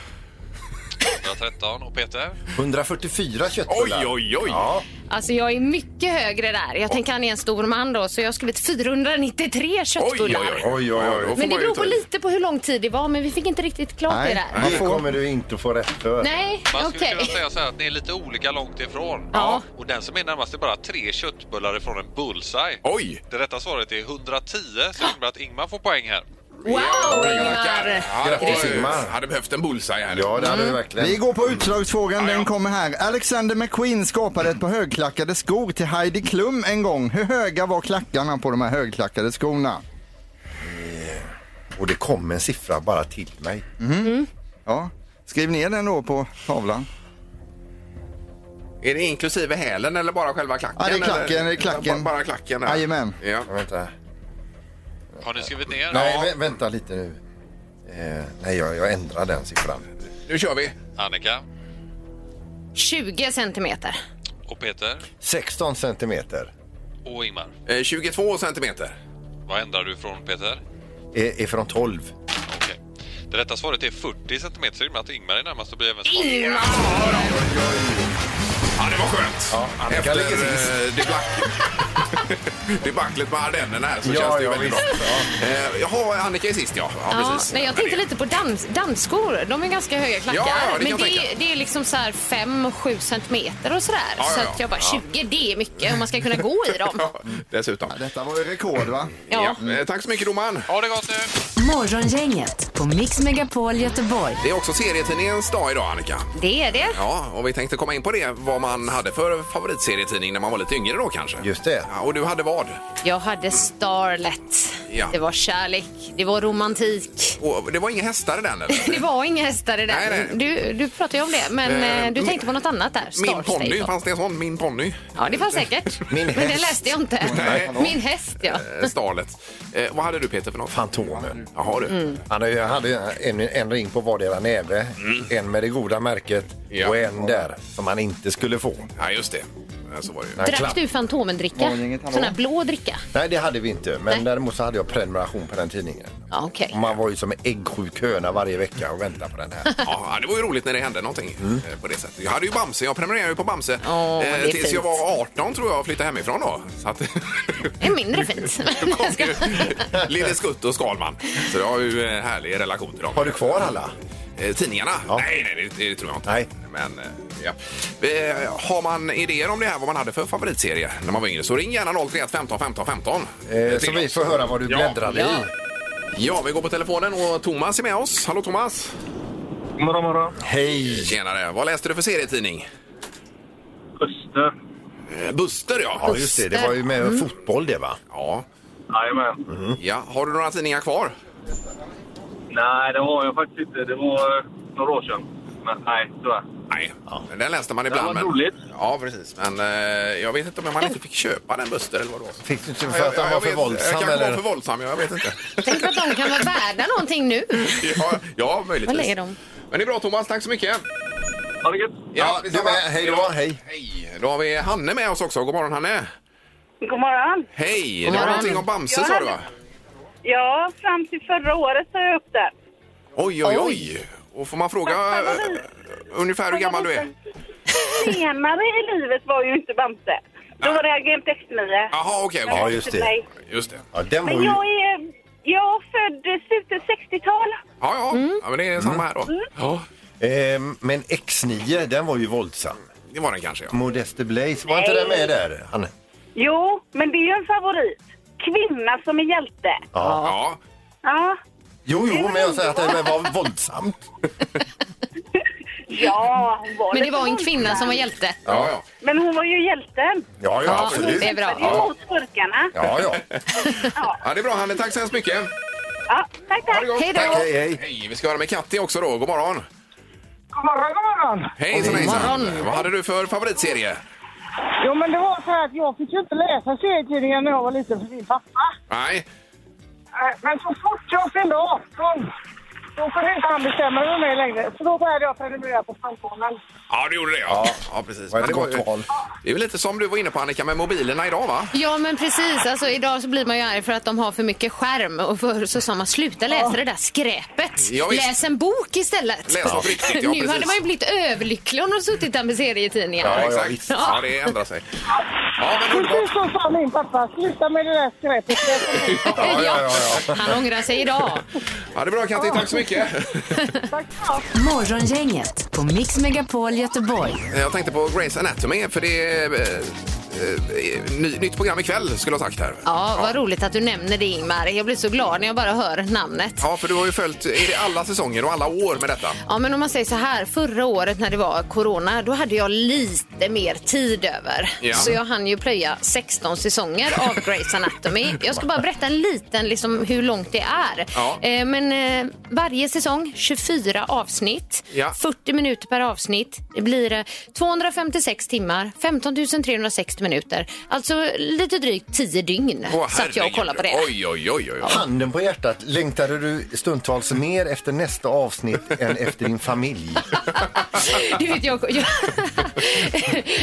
Speaker 10: 113 och Peter?
Speaker 7: 144
Speaker 4: Oj,
Speaker 7: köttbullar.
Speaker 4: oj, oj.
Speaker 7: Ja,
Speaker 5: Alltså jag är mycket högre där. Jag tänker han är en stor man då, så jag har skrivit 493
Speaker 4: Oj, oj,
Speaker 5: köttbullar.
Speaker 4: oj.
Speaker 7: Oj, oj,
Speaker 4: Då
Speaker 7: oj.
Speaker 5: Men det
Speaker 4: får man ju
Speaker 5: beror
Speaker 4: ta
Speaker 5: på
Speaker 4: i.
Speaker 5: lite på hur lång tid det var, men vi fick inte riktigt klart det där.
Speaker 6: man
Speaker 7: det
Speaker 6: får-
Speaker 7: kommer du inte få rätt för.
Speaker 5: Nej,
Speaker 10: Man skulle
Speaker 5: okej.
Speaker 10: kunna säga så här att ni är lite olika långt ifrån.
Speaker 5: Ja.
Speaker 10: Och den som är närmast är bara tre köttbullar ifrån en bullseye.
Speaker 4: Oj!
Speaker 10: Det rätta svaret är 110, så det innebär att Ingmar får poäng här.
Speaker 5: Wow, Ingmar!
Speaker 4: Ja,
Speaker 7: Grattis,
Speaker 4: det var,
Speaker 7: Ingmar.
Speaker 4: hade behövt en bullseye här nu.
Speaker 7: Ja, det hade du
Speaker 5: Mm.
Speaker 6: Vi
Speaker 7: verkligen.
Speaker 6: går på utslagsfrågan, den kommer här. Alexander McQueen skapade ett par högklackade skor till Heidi Klum en gång. Hur höga var klackarna på de här högklackade skorna?
Speaker 7: Och det kom en siffra bara till mig.
Speaker 6: Ja, skriv ner den då på tavlan.
Speaker 4: Är det inklusive hälen eller bara själva klacken?
Speaker 6: Ja, det är
Speaker 4: eller?
Speaker 6: klacken, det är klacken.
Speaker 4: Bara, bara klacken där.
Speaker 6: Jajamän.
Speaker 4: Ja.
Speaker 7: Vänta.
Speaker 10: Har ni skrivit ner?
Speaker 7: Nej, vä- vänta lite nu. Eh, nej, jag, jag ändrar den siffran.
Speaker 4: Nu kör vi.
Speaker 10: Annika
Speaker 5: 20 centimeter.
Speaker 10: och Peter
Speaker 7: 16 centimeter
Speaker 10: och Ingmar.
Speaker 4: Eh, 22 centimeter.
Speaker 10: Vad ändrar du från Peter?
Speaker 7: är, är från 12.
Speaker 10: Okej. Det rätta svaret är 40 cm, så det innebär att Ingmar är närmast och blir även svaret.
Speaker 4: Ja, det var skönt.
Speaker 7: Ja, Annika
Speaker 4: Efter
Speaker 7: ligger sist.
Speaker 4: eh, debac- debaclet med Ardennerna här så
Speaker 7: Ja,
Speaker 4: känns det ju
Speaker 7: ja,
Speaker 4: väldigt bra.
Speaker 7: visst.
Speaker 4: Eh, jaha, Annika är sist ja. Ja,
Speaker 5: Ja,
Speaker 4: precis.
Speaker 5: nej, jag tänkte lite på dans, dansskor. De är ganska höga klackar.
Speaker 4: Ja, ja, det kan
Speaker 5: men
Speaker 4: jag
Speaker 5: det,
Speaker 4: tänka.
Speaker 5: är- det är liksom så här 5-7 centimeter och sådär.
Speaker 4: Ja, ja,
Speaker 5: Så
Speaker 4: ja.
Speaker 5: att jag bara 20, det är mycket om man ska kunna gå i dem.
Speaker 4: Ja, dessutom.
Speaker 6: Detta var ju rekord va?
Speaker 5: Ja.
Speaker 4: Ja, eh, Tack så mycket domaren.
Speaker 10: Ha det gott nu!
Speaker 3: Morgongänget på Mix Megapol Göteborg.
Speaker 4: Det är också serietidningens dag idag Annika.
Speaker 5: Det är det.
Speaker 4: Ja, och vi tänkte komma in på det, vad man hade för favoritserietidning när man var lite yngre då kanske.
Speaker 7: Just det.
Speaker 4: Ja, och du hade vad?
Speaker 5: Jag hade Starlet.
Speaker 4: Ja.
Speaker 5: Det var kärlek. Det var romantik.
Speaker 4: Och det var inga hästar i den eller?
Speaker 5: Det var inga hästar i den.
Speaker 4: Nej, nej.
Speaker 5: Du, du pratade ju om det, men
Speaker 4: Eh,
Speaker 5: eh, du
Speaker 4: min-
Speaker 5: tänkte på något annat där.
Speaker 4: Min
Speaker 5: Starstable.
Speaker 4: ponny, fanns det en sån? Min ponny?
Speaker 5: Ja, det fanns säkert.
Speaker 7: Min
Speaker 5: Men det
Speaker 7: häst.
Speaker 5: läste jag inte.
Speaker 4: Nej.
Speaker 5: Min häst, ja.
Speaker 4: Eh, Starlet. Eh, vad hade du Peter för något?
Speaker 7: Fantomen.
Speaker 4: Jaha du.
Speaker 5: Mm.
Speaker 7: Han hade ju- hade ju en, en ring på vardera näve, en med det goda märket
Speaker 4: Mm. Ja.
Speaker 7: och en där som han inte skulle få.
Speaker 4: Ja, just det. Eh, Så var det ju.
Speaker 7: Nej,
Speaker 5: Drack
Speaker 7: klapp.
Speaker 5: du Fantomendricka?
Speaker 6: Morgonen, hallå.
Speaker 5: Sån här blå dricka?
Speaker 7: Nej, det hade vi inte. Men
Speaker 5: Nej.
Speaker 7: däremot så hade jag prenumeration på den tidningen.
Speaker 5: Ja, okej.
Speaker 7: Och man var ju som en äggsjuk höna varje vecka och väntade på den här.
Speaker 4: Ja, det var ju roligt när det hände någonting
Speaker 7: Mm.
Speaker 4: eh, på det sättet. Jag hade ju Bamse, jag prenumererade ju på Bamse eh,
Speaker 5: Åh, det är
Speaker 4: tills jag
Speaker 5: fint.
Speaker 4: var 18 tror jag och flyttade hemifrån då. Så att,
Speaker 5: Det är mindre fint.
Speaker 4: då kom ju Lille Skutt och Skalman. Så jag har ju eh, härlig relation till dem.
Speaker 7: Har du kvar alla?
Speaker 4: Eh, Tidningarna?
Speaker 7: Ja.
Speaker 4: Nej, nej, det, det tror jag inte.
Speaker 7: Nej.
Speaker 4: Men, eh, ja. Eh, Har man idéer om det här, vad man hade för favoritserie när man var yngre, så ring gärna 031 15 15 15.
Speaker 7: Eh,
Speaker 4: till
Speaker 7: så vi
Speaker 4: oss.
Speaker 7: får höra vad du
Speaker 4: Ja.
Speaker 7: bläddrade i.
Speaker 4: Ja, vi går på telefonen och Thomas är med oss. Hallå Thomas!
Speaker 8: Morgon, morgon.
Speaker 7: Hej!
Speaker 4: Tjenare! Vad läste du för serietidning?
Speaker 8: Öster.
Speaker 4: Eh, Buster, ja.
Speaker 7: Ja, just det. Det var ju med
Speaker 5: Mm.
Speaker 7: fotboll det, va?
Speaker 4: Ja. Mhm.
Speaker 8: Jajamän.
Speaker 4: ja. Har du några tidningar kvar?
Speaker 8: Nej, det har jag faktiskt inte. Det var eh, några år sedan. Men nej, tyvärr.
Speaker 4: Nej, men den läste man ibland.
Speaker 8: var
Speaker 4: men-
Speaker 8: roligt.
Speaker 4: Ja, precis. Men eh, jag vet inte om man inte fick köpa den Buster eller vad det var.
Speaker 7: Fick du inte för att han var för
Speaker 4: Jag
Speaker 7: våldsam?
Speaker 4: kanske var
Speaker 7: Eller?
Speaker 4: för våldsam, jag vet inte.
Speaker 5: Tänk att de kan vara värda någonting nu.
Speaker 4: ja, ja,
Speaker 5: Vad
Speaker 4: möjligtvis.
Speaker 5: lägger de?
Speaker 4: Men det är bra Thomas, tack så mycket.
Speaker 8: Ha det gött!
Speaker 7: Ja, du
Speaker 4: detsamma.
Speaker 7: med. Hej då. Hej.
Speaker 4: Hej. Då har vi Hanne med oss också. God morgon Hanne.
Speaker 9: God morgon.
Speaker 4: Hej! Det var
Speaker 5: morgon.
Speaker 4: någonting om Bamse
Speaker 9: Ja,
Speaker 4: sa du
Speaker 9: Hanne.
Speaker 4: va?
Speaker 9: Ja, fram till förra året så jag upp där.
Speaker 4: Oj, oj, oj. Och får man fråga
Speaker 9: Fast
Speaker 4: eh,
Speaker 9: favorit-
Speaker 4: ungefär hur gammal du är?
Speaker 9: Senare i livet var ju inte Bamse. Då var det Agent X9.
Speaker 4: Jaha, okej. okej.
Speaker 7: Ja, just det.
Speaker 9: Nej.
Speaker 4: Just det.
Speaker 7: Ja, den var
Speaker 9: Men jag
Speaker 7: ju...
Speaker 9: är, jag är född i slutet 60-tal.
Speaker 4: Ja, ja.
Speaker 5: Mm.
Speaker 4: ja men det är samma här då. Ja,
Speaker 7: Ehm, men X9, den var ju våldsam.
Speaker 4: det var den kanske. Ja.
Speaker 7: Modeste Blaze, var inte den med där? Han...
Speaker 9: Jo, men det är ju en favorit. Kvinna som är hjälte.
Speaker 7: Ja.
Speaker 4: Ja.
Speaker 9: Ja,
Speaker 7: Jo, jo, men jag säger att det var våldsamt.
Speaker 9: ja hon var
Speaker 5: Men det
Speaker 9: lite
Speaker 5: var en
Speaker 9: våldsam.
Speaker 5: kvinna som var hjälte.
Speaker 4: Ja, ja.
Speaker 9: Men hon var ju hjälten.
Speaker 7: Ja, ja,
Speaker 5: Ja,
Speaker 7: absolut.
Speaker 5: det är bra.
Speaker 9: Det är mot skurkarna.
Speaker 7: Ja, ja.
Speaker 4: ja, det är bra Hanne. Tack så hemskt mycket.
Speaker 9: Ja, tack,
Speaker 4: Ha
Speaker 9: tack.
Speaker 4: det gott.
Speaker 5: Hej då.
Speaker 4: Tack.
Speaker 7: Hej, hej.
Speaker 4: Hej, vi ska höra med Katti också då. God morgon.
Speaker 8: God morgon, god morgon!
Speaker 4: Hej, så
Speaker 5: morgon.
Speaker 4: hejsan. Vad hade du för favoritserie?
Speaker 9: Jo, men det var så här att jag fick ju inte läsa serietidningar när jag var liten för min pappa.
Speaker 4: Nej.
Speaker 9: Eh, Men så fort jag fyllde 18, då kunde inte han bestämma över mig längre. Så då började jag prenumerera på Fantomen.
Speaker 4: Ja, du gjorde det. Ja, ja precis. Men
Speaker 7: Vad ett
Speaker 4: det, var ju,
Speaker 7: gott val.
Speaker 4: det är väl lite som du var inne på Annika med mobilerna idag va?
Speaker 5: Ja, men precis. Alltså, idag så blir man ju arg för att de har för mycket skärm. Och förr så sa man sluta läsa det där skräpet.
Speaker 4: Ja, visst.
Speaker 5: Läs en bok istället.
Speaker 4: Läs något riktigt, ja,
Speaker 5: nu
Speaker 4: precis.
Speaker 5: hade man ju blivit överlycklig om de suttit där med serietidningar.
Speaker 4: Ja,
Speaker 7: ja, visst.
Speaker 4: exakt. Ja, det ändrar sig. Ja, men
Speaker 9: Precis
Speaker 4: underbart.
Speaker 9: så sa min pappa, sluta med det där skräpet.
Speaker 5: Ja, Han ångrar sig idag.
Speaker 4: Ja, det är bra Katti, tack så mycket.
Speaker 9: Tack ja.
Speaker 3: Morgongänget på Mix Megapol Göteborg.
Speaker 4: Eh, Jag tänkte på Grace Anatomy för det är eh, eh, ny, nytt program ikväll skulle jag ha sagt här.
Speaker 5: Ja, vad roligt att du nämner det Ingmar. Jag blir så glad när jag bara hör namnet.
Speaker 4: Ja, för du har ju följt är det alla säsonger och alla år med detta.
Speaker 5: Ja, men om man säger så här, förra året när det var corona, då hade jag lite mer tid över.
Speaker 4: Ja.
Speaker 5: Så jag hann ju plöja 16 säsonger av Grey's Anatomy. Jag ska bara berätta en liten, liksom hur långt det är.
Speaker 4: Ja.
Speaker 5: Eh, men eh, varje säsong, 24 avsnitt,
Speaker 4: Ja.
Speaker 5: 40 minuter per avsnitt. Det blir eh, 256 timmar, 15 360 minuter. Alltså lite drygt 10 dygn
Speaker 4: Åh,
Speaker 5: satt jag och
Speaker 4: herregud.
Speaker 5: kollade på det.
Speaker 4: Oj, oj, oj, oj. oj.
Speaker 7: Handen på hjärtat, längtade du stundtals mer efter nästa avsnitt än efter din familj?
Speaker 5: Du vet, jag, jag,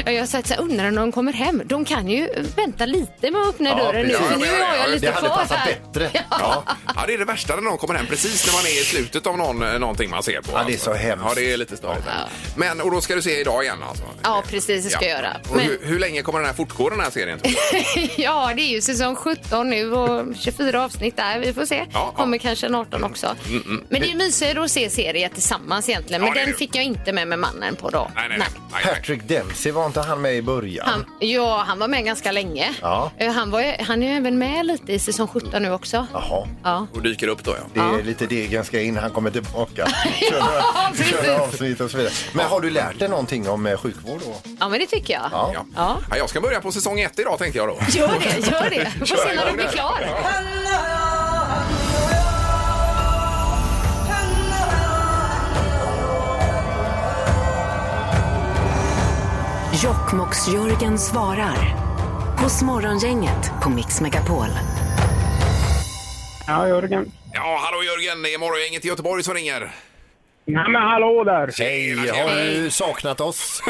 Speaker 5: jag har sagt så här, undrar när de kommer hem. De kan ju vänta lite med att öppna dörren nu,
Speaker 7: precis.
Speaker 5: för nu
Speaker 4: Ja,
Speaker 5: har
Speaker 4: ja,
Speaker 5: jag
Speaker 4: ja,
Speaker 5: lite
Speaker 7: Det hade
Speaker 5: kvar
Speaker 7: passat
Speaker 5: här.
Speaker 7: bättre.
Speaker 4: Ja. ja, det är det värsta när någon kommer hem precis när man är i slutet av någon, eh, någonting man ser på. Alltså.
Speaker 7: Ja, det är så hemskt.
Speaker 4: Ja, det är lite störigt. Men, och då ska du se idag igen alltså?
Speaker 5: Ja, precis, det ska jag göra.
Speaker 4: Och
Speaker 5: Men-
Speaker 4: hur, hur länge kommer den här fortgå den här serien? tror du?
Speaker 5: Ja, det är ju säsong 17 nu och 24 avsnitt där. Vi får se.
Speaker 4: ja. Mm,
Speaker 5: Kommer kanske en 18 också. Men det är ju mysigare att se serier tillsammans egentligen.
Speaker 4: Ja,
Speaker 5: Men
Speaker 4: det är
Speaker 5: den
Speaker 4: det.
Speaker 5: fick jag inte med med mannen på då.
Speaker 4: Nej, nej, nej. nej, nej.
Speaker 7: Patrick Dempsey, var inte han med i början?
Speaker 5: Han, ja, han var med ganska länge.
Speaker 7: Ja.
Speaker 5: Eh, Han, var, ju- han är ju även med lite i säsong 17 nu också.
Speaker 7: Jaha.
Speaker 5: Ja.
Speaker 4: Och dyker upp då ja.
Speaker 7: Det är lite degen ska in, han kommer tillbaka. Kör,
Speaker 5: precis.
Speaker 7: kör avsnitt och så vidare. Men har du lärt dig någonting om eh, sjukvård då?
Speaker 5: ja, men det tycker jag.
Speaker 7: Ja.
Speaker 4: Ja.
Speaker 5: Ja.
Speaker 4: Ja, jag ska börja på säsong ett idag tänkte jag då.
Speaker 5: Gör det, gör det. Får se när du blir klar.
Speaker 3: Jokkmokks-Jörgen svarar. Hos Morgongänget på Mix Megapol.
Speaker 8: Ja, Jörgen.
Speaker 4: Ja, hallå Jörgen, det är morgongänget i Göteborg som ringer.
Speaker 8: Nej, men hallå där.
Speaker 7: Hej, har du saknat oss?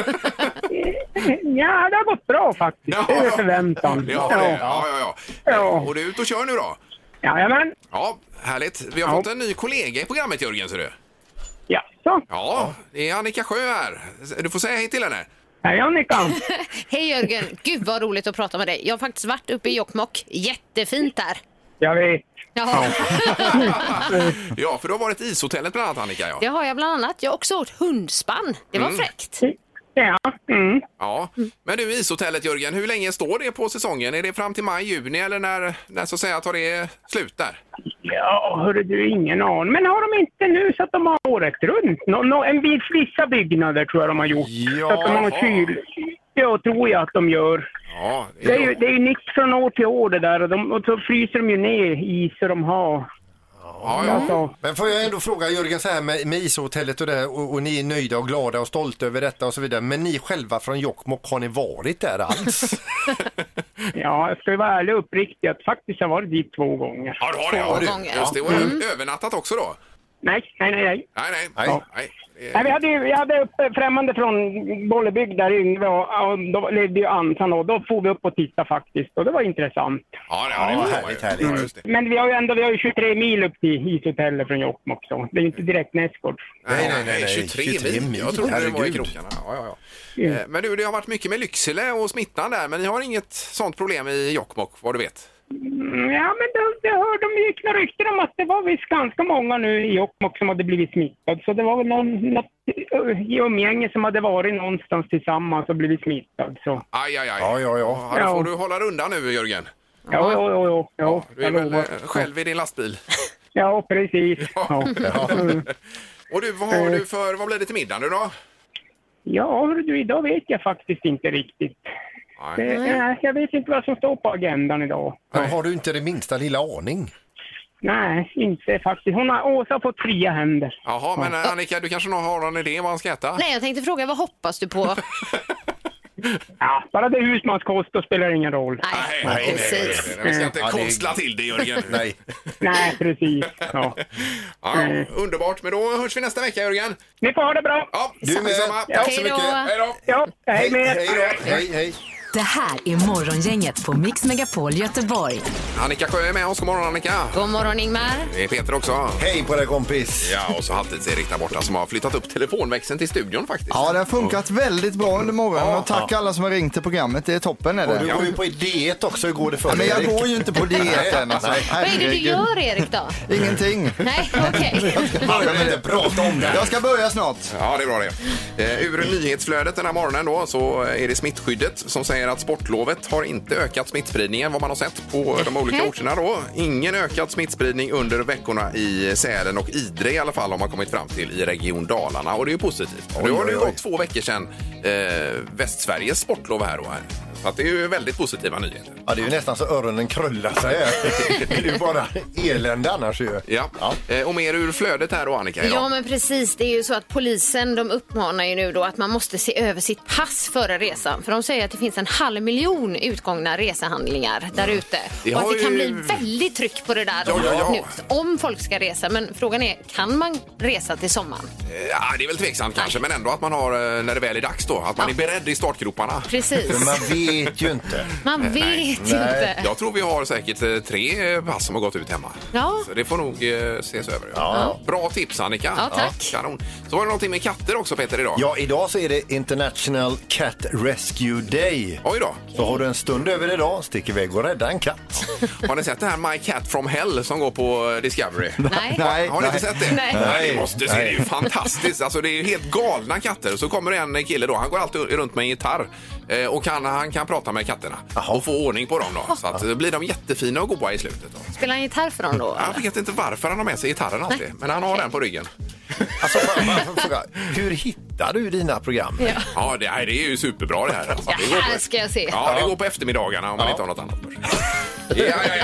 Speaker 8: Ja, det har gått bra faktiskt.
Speaker 4: Ja.
Speaker 8: Över förväntan.
Speaker 4: Ja, det- ja, ja, ja.
Speaker 8: Ja.
Speaker 4: Och du är ute och kör nu då?
Speaker 8: Jajamän.
Speaker 4: Ja, härligt. Vi har fått en ny kollega i programmet Jörgen, ser du.
Speaker 8: Ja, så.
Speaker 4: Ja, det är Annika Sjö här. Du får säga hej till henne.
Speaker 8: Hej Annika.
Speaker 5: Hej Jörgen, gud vad roligt att prata med dig. Jag har faktiskt varit uppe i Jokkmokk. Jättefint där.
Speaker 8: Jag vet.
Speaker 5: Ja,
Speaker 4: Ja, för du har varit i ishotellet bland annat Annika. Ja,
Speaker 5: det har jag bland annat. Jag har också åt hundspann. Det var fräckt.
Speaker 8: Ja. Mm.
Speaker 4: ja. Men du ishotellet Jörgen, hur länge står det på säsongen? Är det fram till maj, juni eller när, när så att säga tar det slut där?
Speaker 8: Ja, hörru du, ingen aning. Men har de inte nu så att de har året runt? Nå, nå, en bit vissa byggnader tror jag de har gjort.
Speaker 7: Ja.
Speaker 8: Så att de har kyl. Ja, tror jag att de gör.
Speaker 4: Ja, det
Speaker 8: Det är
Speaker 4: är
Speaker 8: ju
Speaker 4: bra.
Speaker 8: det är ju nytt från år till år det där och, de, och så fryser de ju ner is så de har.
Speaker 4: Ja, ja.
Speaker 8: Alltså,
Speaker 7: Men får jag ändå fråga Jörgen så här med, med ishotellet och det här, och, och ni är nöjda och glada och stolta över detta och så vidare. Men ni själva från Jokkmokk, har ni varit där alls?
Speaker 8: ja, jag ska ju vara ärlig och uppriktig att faktiskt har jag varit dit två gånger.
Speaker 4: Ja, du har det.
Speaker 5: Två
Speaker 4: Ja,
Speaker 5: gånger.
Speaker 4: du. Just det. Och ö- Övernattat också då?
Speaker 8: Nej, nej, nej. nej.
Speaker 4: Nej, nej.
Speaker 7: Mm. Nej.
Speaker 4: nej. Eh,
Speaker 8: Nej, vi hade, ju- vi hade upp främmande från Bollebygd där Yngve och, och då levde ju Ansan och då får vi upp och titta faktiskt och det var intressant.
Speaker 4: Ja, det, ja, det
Speaker 7: Ja,
Speaker 4: var
Speaker 7: härligt, härligt.
Speaker 4: Ja, just det.
Speaker 8: Men vi har ju ändå vi har ju 23 mil upp till ishotellet från Jokkmokk så det är ju inte direkt nästgård.
Speaker 7: Nej, nej, nej, nej.
Speaker 4: 23,
Speaker 7: 23
Speaker 4: mil.
Speaker 7: mil.
Speaker 4: Jag trodde det var i
Speaker 7: Herregud.
Speaker 4: krokarna. Ja, ja, ja.
Speaker 8: Mm.
Speaker 4: Eh, Men du, det har varit mycket med Lycksele och smittan där, men ni har inget sånt problem i Jokkmokk, vad du vet?
Speaker 8: Mm, Ja, men det, det hörde de gick några rykten om att det var visst ganska många nu i Jokkmokk som hade blivit smittade. Så det var väl någon, något ö, i umgänge som hade varit någonstans tillsammans och blivit smittad. Så.
Speaker 4: Aj, aj, aj.
Speaker 7: Ja, ja, ja.
Speaker 4: då får
Speaker 8: Ja.
Speaker 4: du hålla dig undan nu, Jörgen.
Speaker 8: Ja, ja, ja, ja, ja,
Speaker 4: Du är
Speaker 8: jag
Speaker 4: väl
Speaker 8: lovar.
Speaker 4: eh, själv i din lastbil.
Speaker 8: Ja, precis. Ja, Mm.
Speaker 4: Och du, vad
Speaker 7: Eh.
Speaker 4: har du för, vad blir det till middag nu då?
Speaker 8: ja hörru du, idag vet jag faktiskt inte riktigt.
Speaker 4: Nej.
Speaker 8: Det, nej, jag vet inte vad som står på agendan idag.
Speaker 7: Men Har du inte det minsta lilla aning?
Speaker 8: Nej, inte faktiskt. Hon har, Åsa har fått fria händer.
Speaker 4: Jaha, men eh, Annika, du kanske nog har någon idé vad han ska äta?
Speaker 5: Nej, jag tänkte fråga, vad hoppas du på?
Speaker 8: Ja, bara det är husmanskost, då spelar det ingen roll.
Speaker 5: Nej,
Speaker 4: Nej, nej, nej,
Speaker 5: precis.
Speaker 4: nej, nej. Vi ska inte
Speaker 7: Ja, det-
Speaker 4: konstla till det, Jörgen.
Speaker 7: Nej.
Speaker 8: Nej, precis. Ja.
Speaker 4: Ja, ja, underbart, men då hörs vi nästa vecka, Jörgen.
Speaker 8: Ni får ha det bra!
Speaker 4: Ja,
Speaker 7: Du med.
Speaker 4: detsamma.
Speaker 7: Ja.
Speaker 5: Hej då.
Speaker 4: Hej då.
Speaker 8: Ja, hej med er!
Speaker 7: Hej då. Hej, hej.
Speaker 3: Det här är Morgongänget på Mix Megapol Göteborg.
Speaker 4: Annika Sjö är med oss. God morgon, Annika.
Speaker 5: God morgon Ingmar.
Speaker 4: Det är Peter också.
Speaker 7: Hej på dig kompis.
Speaker 4: Ja, och så Halvtids-Erik där borta som har flyttat upp telefonväxeln till studion faktiskt.
Speaker 6: Ja, det har funkat väldigt bra under morgonen och tack alla som har ringt till programmet. Det är toppen är
Speaker 7: Och du
Speaker 6: det.
Speaker 7: går ju på diet också. Hur går det för
Speaker 6: Ja,
Speaker 7: dig?
Speaker 6: men jag
Speaker 7: Erik?
Speaker 6: går ju inte på diet än alltså.
Speaker 5: Vad är det du
Speaker 6: Herregud.
Speaker 5: gör Erik då?
Speaker 6: Ingenting.
Speaker 5: Nej, okej.
Speaker 7: Jag vill inte prata om det.
Speaker 6: Jag ska börja snart.
Speaker 4: Ja, det är bra det. Eh, Ur nyhetsflödet den här morgonen då så är det smittskyddet som säger att sportlovet har inte ökat smittspridningen vad man har sett på
Speaker 5: Mhm.
Speaker 4: de olika orterna då. Ingen ökad smittspridning under veckorna i Sälen och Idre i alla fall har man kommit fram till i Region Dalarna och det är ju positivt. nu har det ju
Speaker 7: oj, oj.
Speaker 4: gått två veckor sedan eh, Västsveriges sportlov här och här. Så att det är ju väldigt positiva nyheter.
Speaker 7: Ja, det är ju nästan så öronen krullar sig. Det är ju bara elände annars ju.
Speaker 4: Ja. Eh, Och mer ur flödet här då Annika idag.
Speaker 5: Ja men precis, det är ju så att polisen de uppmanar ju nu då att man måste se över sitt pass före resan. För de säger att det finns en halv miljon utgångna resehandlingar där ute.
Speaker 4: Mm. Det
Speaker 5: Och
Speaker 4: har
Speaker 5: att det kan
Speaker 4: ju-
Speaker 5: bli väldigt tryck på det där
Speaker 4: Ja, ja, ja.
Speaker 5: nu. om folk ska resa. Men frågan är, kan man resa till sommaren?
Speaker 4: Eh, Ja, det är väl tveksamt kanske men ändå att man har, eh, när det väl är dags då, att man är beredd i startgroparna.
Speaker 7: Men
Speaker 5: Precis,
Speaker 7: man vet ju inte.
Speaker 5: man vet inte.
Speaker 4: Jag tror vi har säkert eh, tre pass som har gått ut hemma.
Speaker 5: Ja.
Speaker 4: Så det får nog eh, ses över. Ja.
Speaker 7: Ja.
Speaker 4: Bra tips Annika.
Speaker 5: Ja, tack.
Speaker 4: Kanon. Så var det någonting med katter också Peter idag.
Speaker 7: Ja, idag så är det International Cat Rescue Day.
Speaker 4: Oj då.
Speaker 7: Så har du en stund över idag, stick iväg och rädda en katt.
Speaker 4: Har ni sett det här My Cat from Hell som går på eh, Discovery?
Speaker 5: Nej.
Speaker 6: Nej,
Speaker 4: Har ni inte
Speaker 6: nej.
Speaker 4: sett det?
Speaker 5: Nej.
Speaker 4: Ni måste se, det är ju
Speaker 7: Nej.
Speaker 4: fantastiskt. Alltså, det är ju helt galna katter. Så kommer det en kille då, han går alltid runt med en gitarr eh, och kan, han kan prata med katterna och få ordning på dem då. Så att, eh, blir de jättefina och goa i slutet. Då.
Speaker 5: Spelar han gitarr för dem då?
Speaker 4: Jag vet inte varför han har med sig gitarren alltid, men han har den på ryggen.
Speaker 7: Alltså, fan, man får fråga, hur hittar du dina program?
Speaker 5: Ja.
Speaker 4: Ja, det, nej, det är ju superbra det här. Alltså,
Speaker 5: Ja,
Speaker 4: det går på-
Speaker 5: här ska jag se.
Speaker 4: Ja, det går på eftermiddagarna om man inte har något annat för sig. Ja, ja,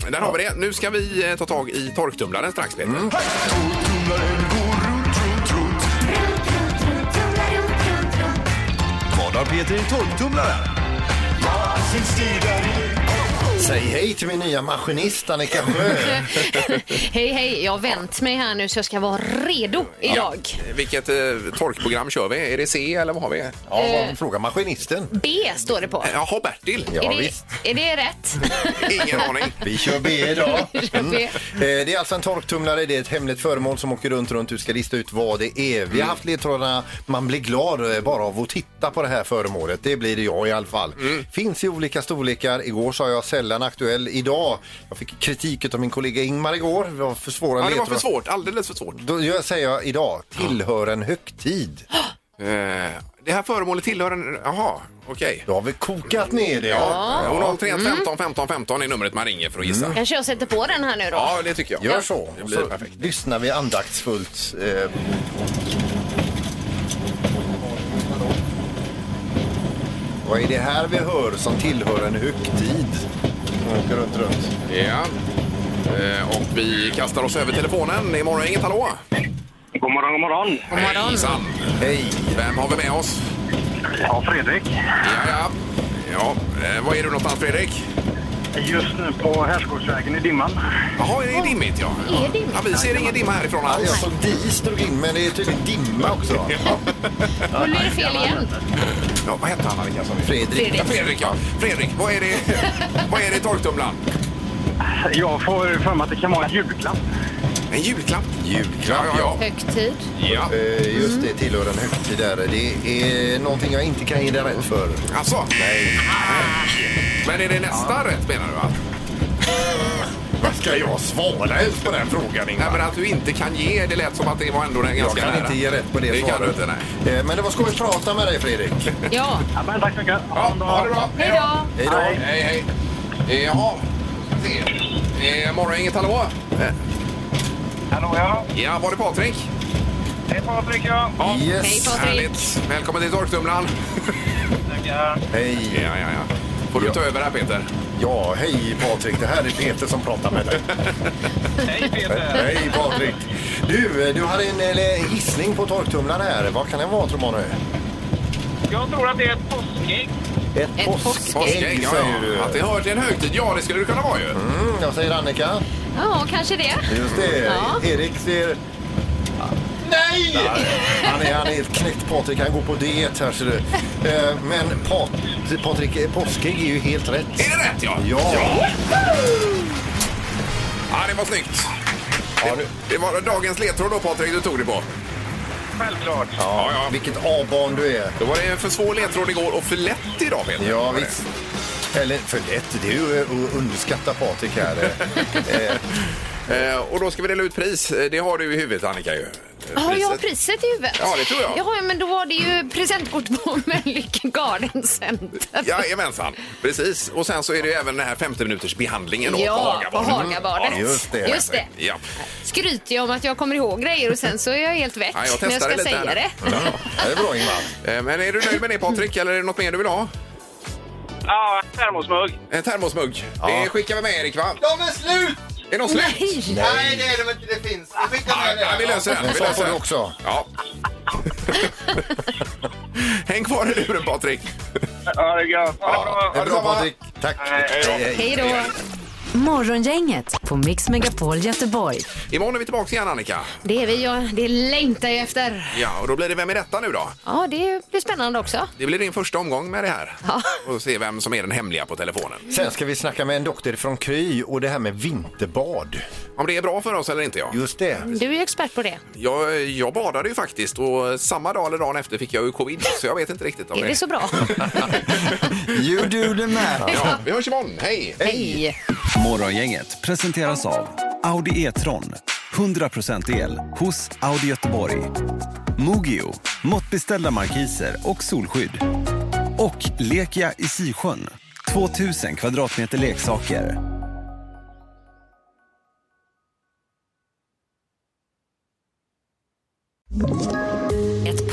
Speaker 4: ja. Där har vi det. Nu ska vi eh, ta tag i torktumlaren strax, Peter.
Speaker 11: Vad har Peter i torktumlaren?
Speaker 7: Säg hej till min nya maskinist Annika Sjö.
Speaker 5: hej, hej, jag har vänt mig här nu så jag ska vara redo idag.
Speaker 4: Vilket eh, torkprogram kör vi? Är det C eller vad har vi? Eh,
Speaker 7: Ja, vad- fråga maskinisten.
Speaker 5: B står det på.
Speaker 4: Jaha, Bertil.
Speaker 7: Ja,
Speaker 5: är, det,
Speaker 7: visst.
Speaker 5: är det rätt?
Speaker 4: Ingen aning.
Speaker 7: Vi kör B idag.
Speaker 5: kör B.
Speaker 7: Eh, Det är alltså en torktumlare, det är ett hemligt föremål som åker runt, runt. Du ska lista ut vad det är.
Speaker 4: Mm.
Speaker 7: Vi har haft ledtrådarna, man blir glad eh, bara av att titta på det här föremålet. Det blir det jag i alla fall.
Speaker 4: Mm.
Speaker 7: Finns i olika storlekar. Igår sa jag sällan aktuell. Idag, jag fick kritik av min kollega Ingmar igår. Det var för svåra
Speaker 4: Ja, det var
Speaker 7: ledtrådar.
Speaker 4: för svårt. Alldeles för svårt.
Speaker 7: Då jag säger jag idag, tillhör en högtid.
Speaker 4: Eh, det här föremålet tillhör en... Jaha, okej.
Speaker 7: Då har vi kokat ner det.
Speaker 4: Ja. 031 15 15 15 är numret man ringer för att gissa.
Speaker 5: Kanske jag sätter på den här nu då.
Speaker 4: Ja, det tycker jag.
Speaker 7: Gör så.
Speaker 4: Det
Speaker 7: Och
Speaker 4: blir
Speaker 7: så
Speaker 4: perfekt.
Speaker 7: lyssnar vi andaktsfullt. Eh, Vad är det här vi hör som tillhör en högtid? Som åker runt, runt.
Speaker 4: Ja. Eh, och vi kastar oss över telefonen. Det är morgon, inget hallå?
Speaker 1: God morgon, god morgon.
Speaker 5: God morgon.
Speaker 4: Hejsan.
Speaker 7: Hej!
Speaker 4: Vem har vi med oss?
Speaker 1: Ja, Fredrik.
Speaker 4: Ja, ja. Ja, eh, var är du någonstans Fredrik?
Speaker 1: Just nu på Härskogsvägen i dimman.
Speaker 4: Jaha, det är dimmigt ja.
Speaker 5: Är det dimmigt?
Speaker 4: ja vi ser ingen dimma härifrån
Speaker 7: Ja, jag
Speaker 4: alls.
Speaker 7: såg dis drog in, men det är tydligen dimma också.
Speaker 5: Nu blir det fel igen.
Speaker 4: Ja, vad hette han Annika? sa vi?
Speaker 7: Fredrik.
Speaker 4: Ja, Fredrik, ja. Fredrik, vad är det, vad är det i torktumlaren?
Speaker 1: Jag får för mig att det kan vara en julklapp.
Speaker 4: En julklapp? Julklapp, ja. ja,
Speaker 5: Högtid.
Speaker 4: ja.
Speaker 7: Eh, Just det, tillhör en högtid där. Det är någonting jag inte kan ge dig rätt för.
Speaker 4: ja. Alltså? Nej. Men är det nästa rätt menar du? Va?
Speaker 7: Ah. Vad ska jag svara ens på den frågan,
Speaker 4: Nej, men att du inte kan ge, det lät som att det var ändå den
Speaker 7: Jag
Speaker 4: ganska
Speaker 7: kan
Speaker 4: nära.
Speaker 7: inte ge rätt på det,
Speaker 4: Det kan du
Speaker 7: svaret.
Speaker 4: inte,
Speaker 7: Eh, Men det var skoj att prata med dig, Fredrik.
Speaker 5: Ja,
Speaker 1: Ja, men tack så mycket.
Speaker 4: Ja, ha det bra.
Speaker 5: hej då.
Speaker 7: Hej då.
Speaker 4: Hej, hej. Eh, Jaha, ska vi se. Eh, morgon, inget hallå? Eh,
Speaker 1: Hallå, ja.
Speaker 4: Ja, var det Patrik?
Speaker 1: Hej Patrik, ja.
Speaker 4: Ja.
Speaker 7: Yes.
Speaker 5: Hej Patrik.
Speaker 4: Härligt. Välkommen till torktumlaren.
Speaker 1: Tackar.
Speaker 7: Hej!
Speaker 4: Ja, ja, ja. Får du
Speaker 7: Ja.
Speaker 4: ta över här, Peter?
Speaker 7: Ja, hej Patrik. Det här är Peter som pratar med dig.
Speaker 1: Hej Peter.
Speaker 7: hej Patrik. Du, eh, du hade en, eller, en gissning på torktumlaren här. Vad kan den vara tror man nu?
Speaker 1: Jag tror att det är ett påskägg.
Speaker 7: Ett,
Speaker 5: Ett
Speaker 7: påskägg,
Speaker 5: påskägg.
Speaker 4: Påskägg, ja,
Speaker 7: säger du.
Speaker 4: ja. Att det hör till en högtid, ja det skulle det kunna vara ju.
Speaker 7: Mm, jag säger Annika.
Speaker 5: Ja, kanske det.
Speaker 7: Just det.
Speaker 5: Ja.
Speaker 7: Erik ser... Nej! Han är, han är helt knäckt Patrik. Han går på diet här ser du. Eh, Men Pat, Patrik, eh, påskägg är ju helt rätt.
Speaker 4: Är det rätt ja?
Speaker 7: Ja.
Speaker 4: Ja, det var snyggt. Det, det var dagens ledtråd då Patrik du tog det på.
Speaker 1: Självklart.
Speaker 7: Ja, Vilket A-barn du är.
Speaker 4: Då var det för svår ledtråd igår och för lätt idag Peter.
Speaker 7: Ja, visst. Eller för lätt, det är ju eh, att underskatta Patrik här. Eh, eh,
Speaker 4: Eh, och då ska vi dela ut pris. Eh, Det har du i huvudet Annika ju. Eh,
Speaker 5: Har jag
Speaker 4: priset.
Speaker 5: priset i huvudet?
Speaker 4: Ja, det tror jag.
Speaker 5: Ja, men då var det ju presentkort på Mölnlycke Garden Center.
Speaker 4: Jajamensan, precis. Och sen så är det ju även den här 50 minuters behandlingen då,
Speaker 5: Ja,
Speaker 4: på
Speaker 5: på
Speaker 4: Hagabadet.
Speaker 5: Hagabadet.
Speaker 4: Mm,
Speaker 7: Just det.
Speaker 5: Just det.
Speaker 4: Ja.
Speaker 5: Skryter jag om att jag kommer ihåg grejer och sen så är jag helt väck.
Speaker 4: Ja, jag
Speaker 5: men jag
Speaker 4: testar
Speaker 5: ska
Speaker 4: det lite
Speaker 5: säga
Speaker 4: här.
Speaker 5: det.
Speaker 7: Ja, det är bra Ingvar.
Speaker 4: Eh, Men är du nöjd med det Patrik eller är det något mer du vill ha?
Speaker 1: Ja, termosmugg.
Speaker 4: En termosmugg.
Speaker 7: Ja.
Speaker 4: Det skickar vi med Erik va?
Speaker 6: De är slut!
Speaker 4: Är det något slut?
Speaker 5: Nej.
Speaker 6: Nej, det är de inte. Det finns. Vi skickar med
Speaker 4: Ja, vi
Speaker 6: det.
Speaker 4: löser den.
Speaker 7: Men
Speaker 4: Vi
Speaker 7: så
Speaker 4: löser
Speaker 7: får du
Speaker 4: den.
Speaker 7: också.
Speaker 4: Ja. Häng kvar i luren Patrik.
Speaker 1: Ja, det är gött. Ha det
Speaker 7: Det är
Speaker 1: bra.
Speaker 7: bra Patrik. Tack.
Speaker 1: hej då.
Speaker 5: Hej då.
Speaker 3: Morgongänget på Mix Megapol Göteborg.
Speaker 4: Imorgon är vi tillbaka igen Annika.
Speaker 5: Det är vi, ja, det längtar jag efter.
Speaker 4: Ja, och då blir det Vem är detta nu då?
Speaker 5: Ja, det blir spännande också.
Speaker 4: Det blir din första omgång med det här.
Speaker 5: Ja.
Speaker 4: Och se vem som är den hemliga på telefonen.
Speaker 7: Sen ska vi snacka med en doktor från Kry och det här med vinterbad.
Speaker 4: Om det är bra för oss eller inte ja.
Speaker 7: Just det.
Speaker 5: Du är ju expert på det.
Speaker 4: Jag, jag badade ju faktiskt och samma dag eller dagen efter fick jag ju covid så jag vet inte riktigt om
Speaker 5: Är det så bra?
Speaker 6: You do the math.
Speaker 4: Ja, vi hörs imorgon. Hej!
Speaker 5: Hej!
Speaker 11: Morgongänget presenteras av Audi E-tron. 100% el hos Audi Göteborg. Mogio, måttbeställda markiser och solskydd. Och Lekia i Sisjön, 2000 kvadratmeter leksaker.
Speaker 3: Ett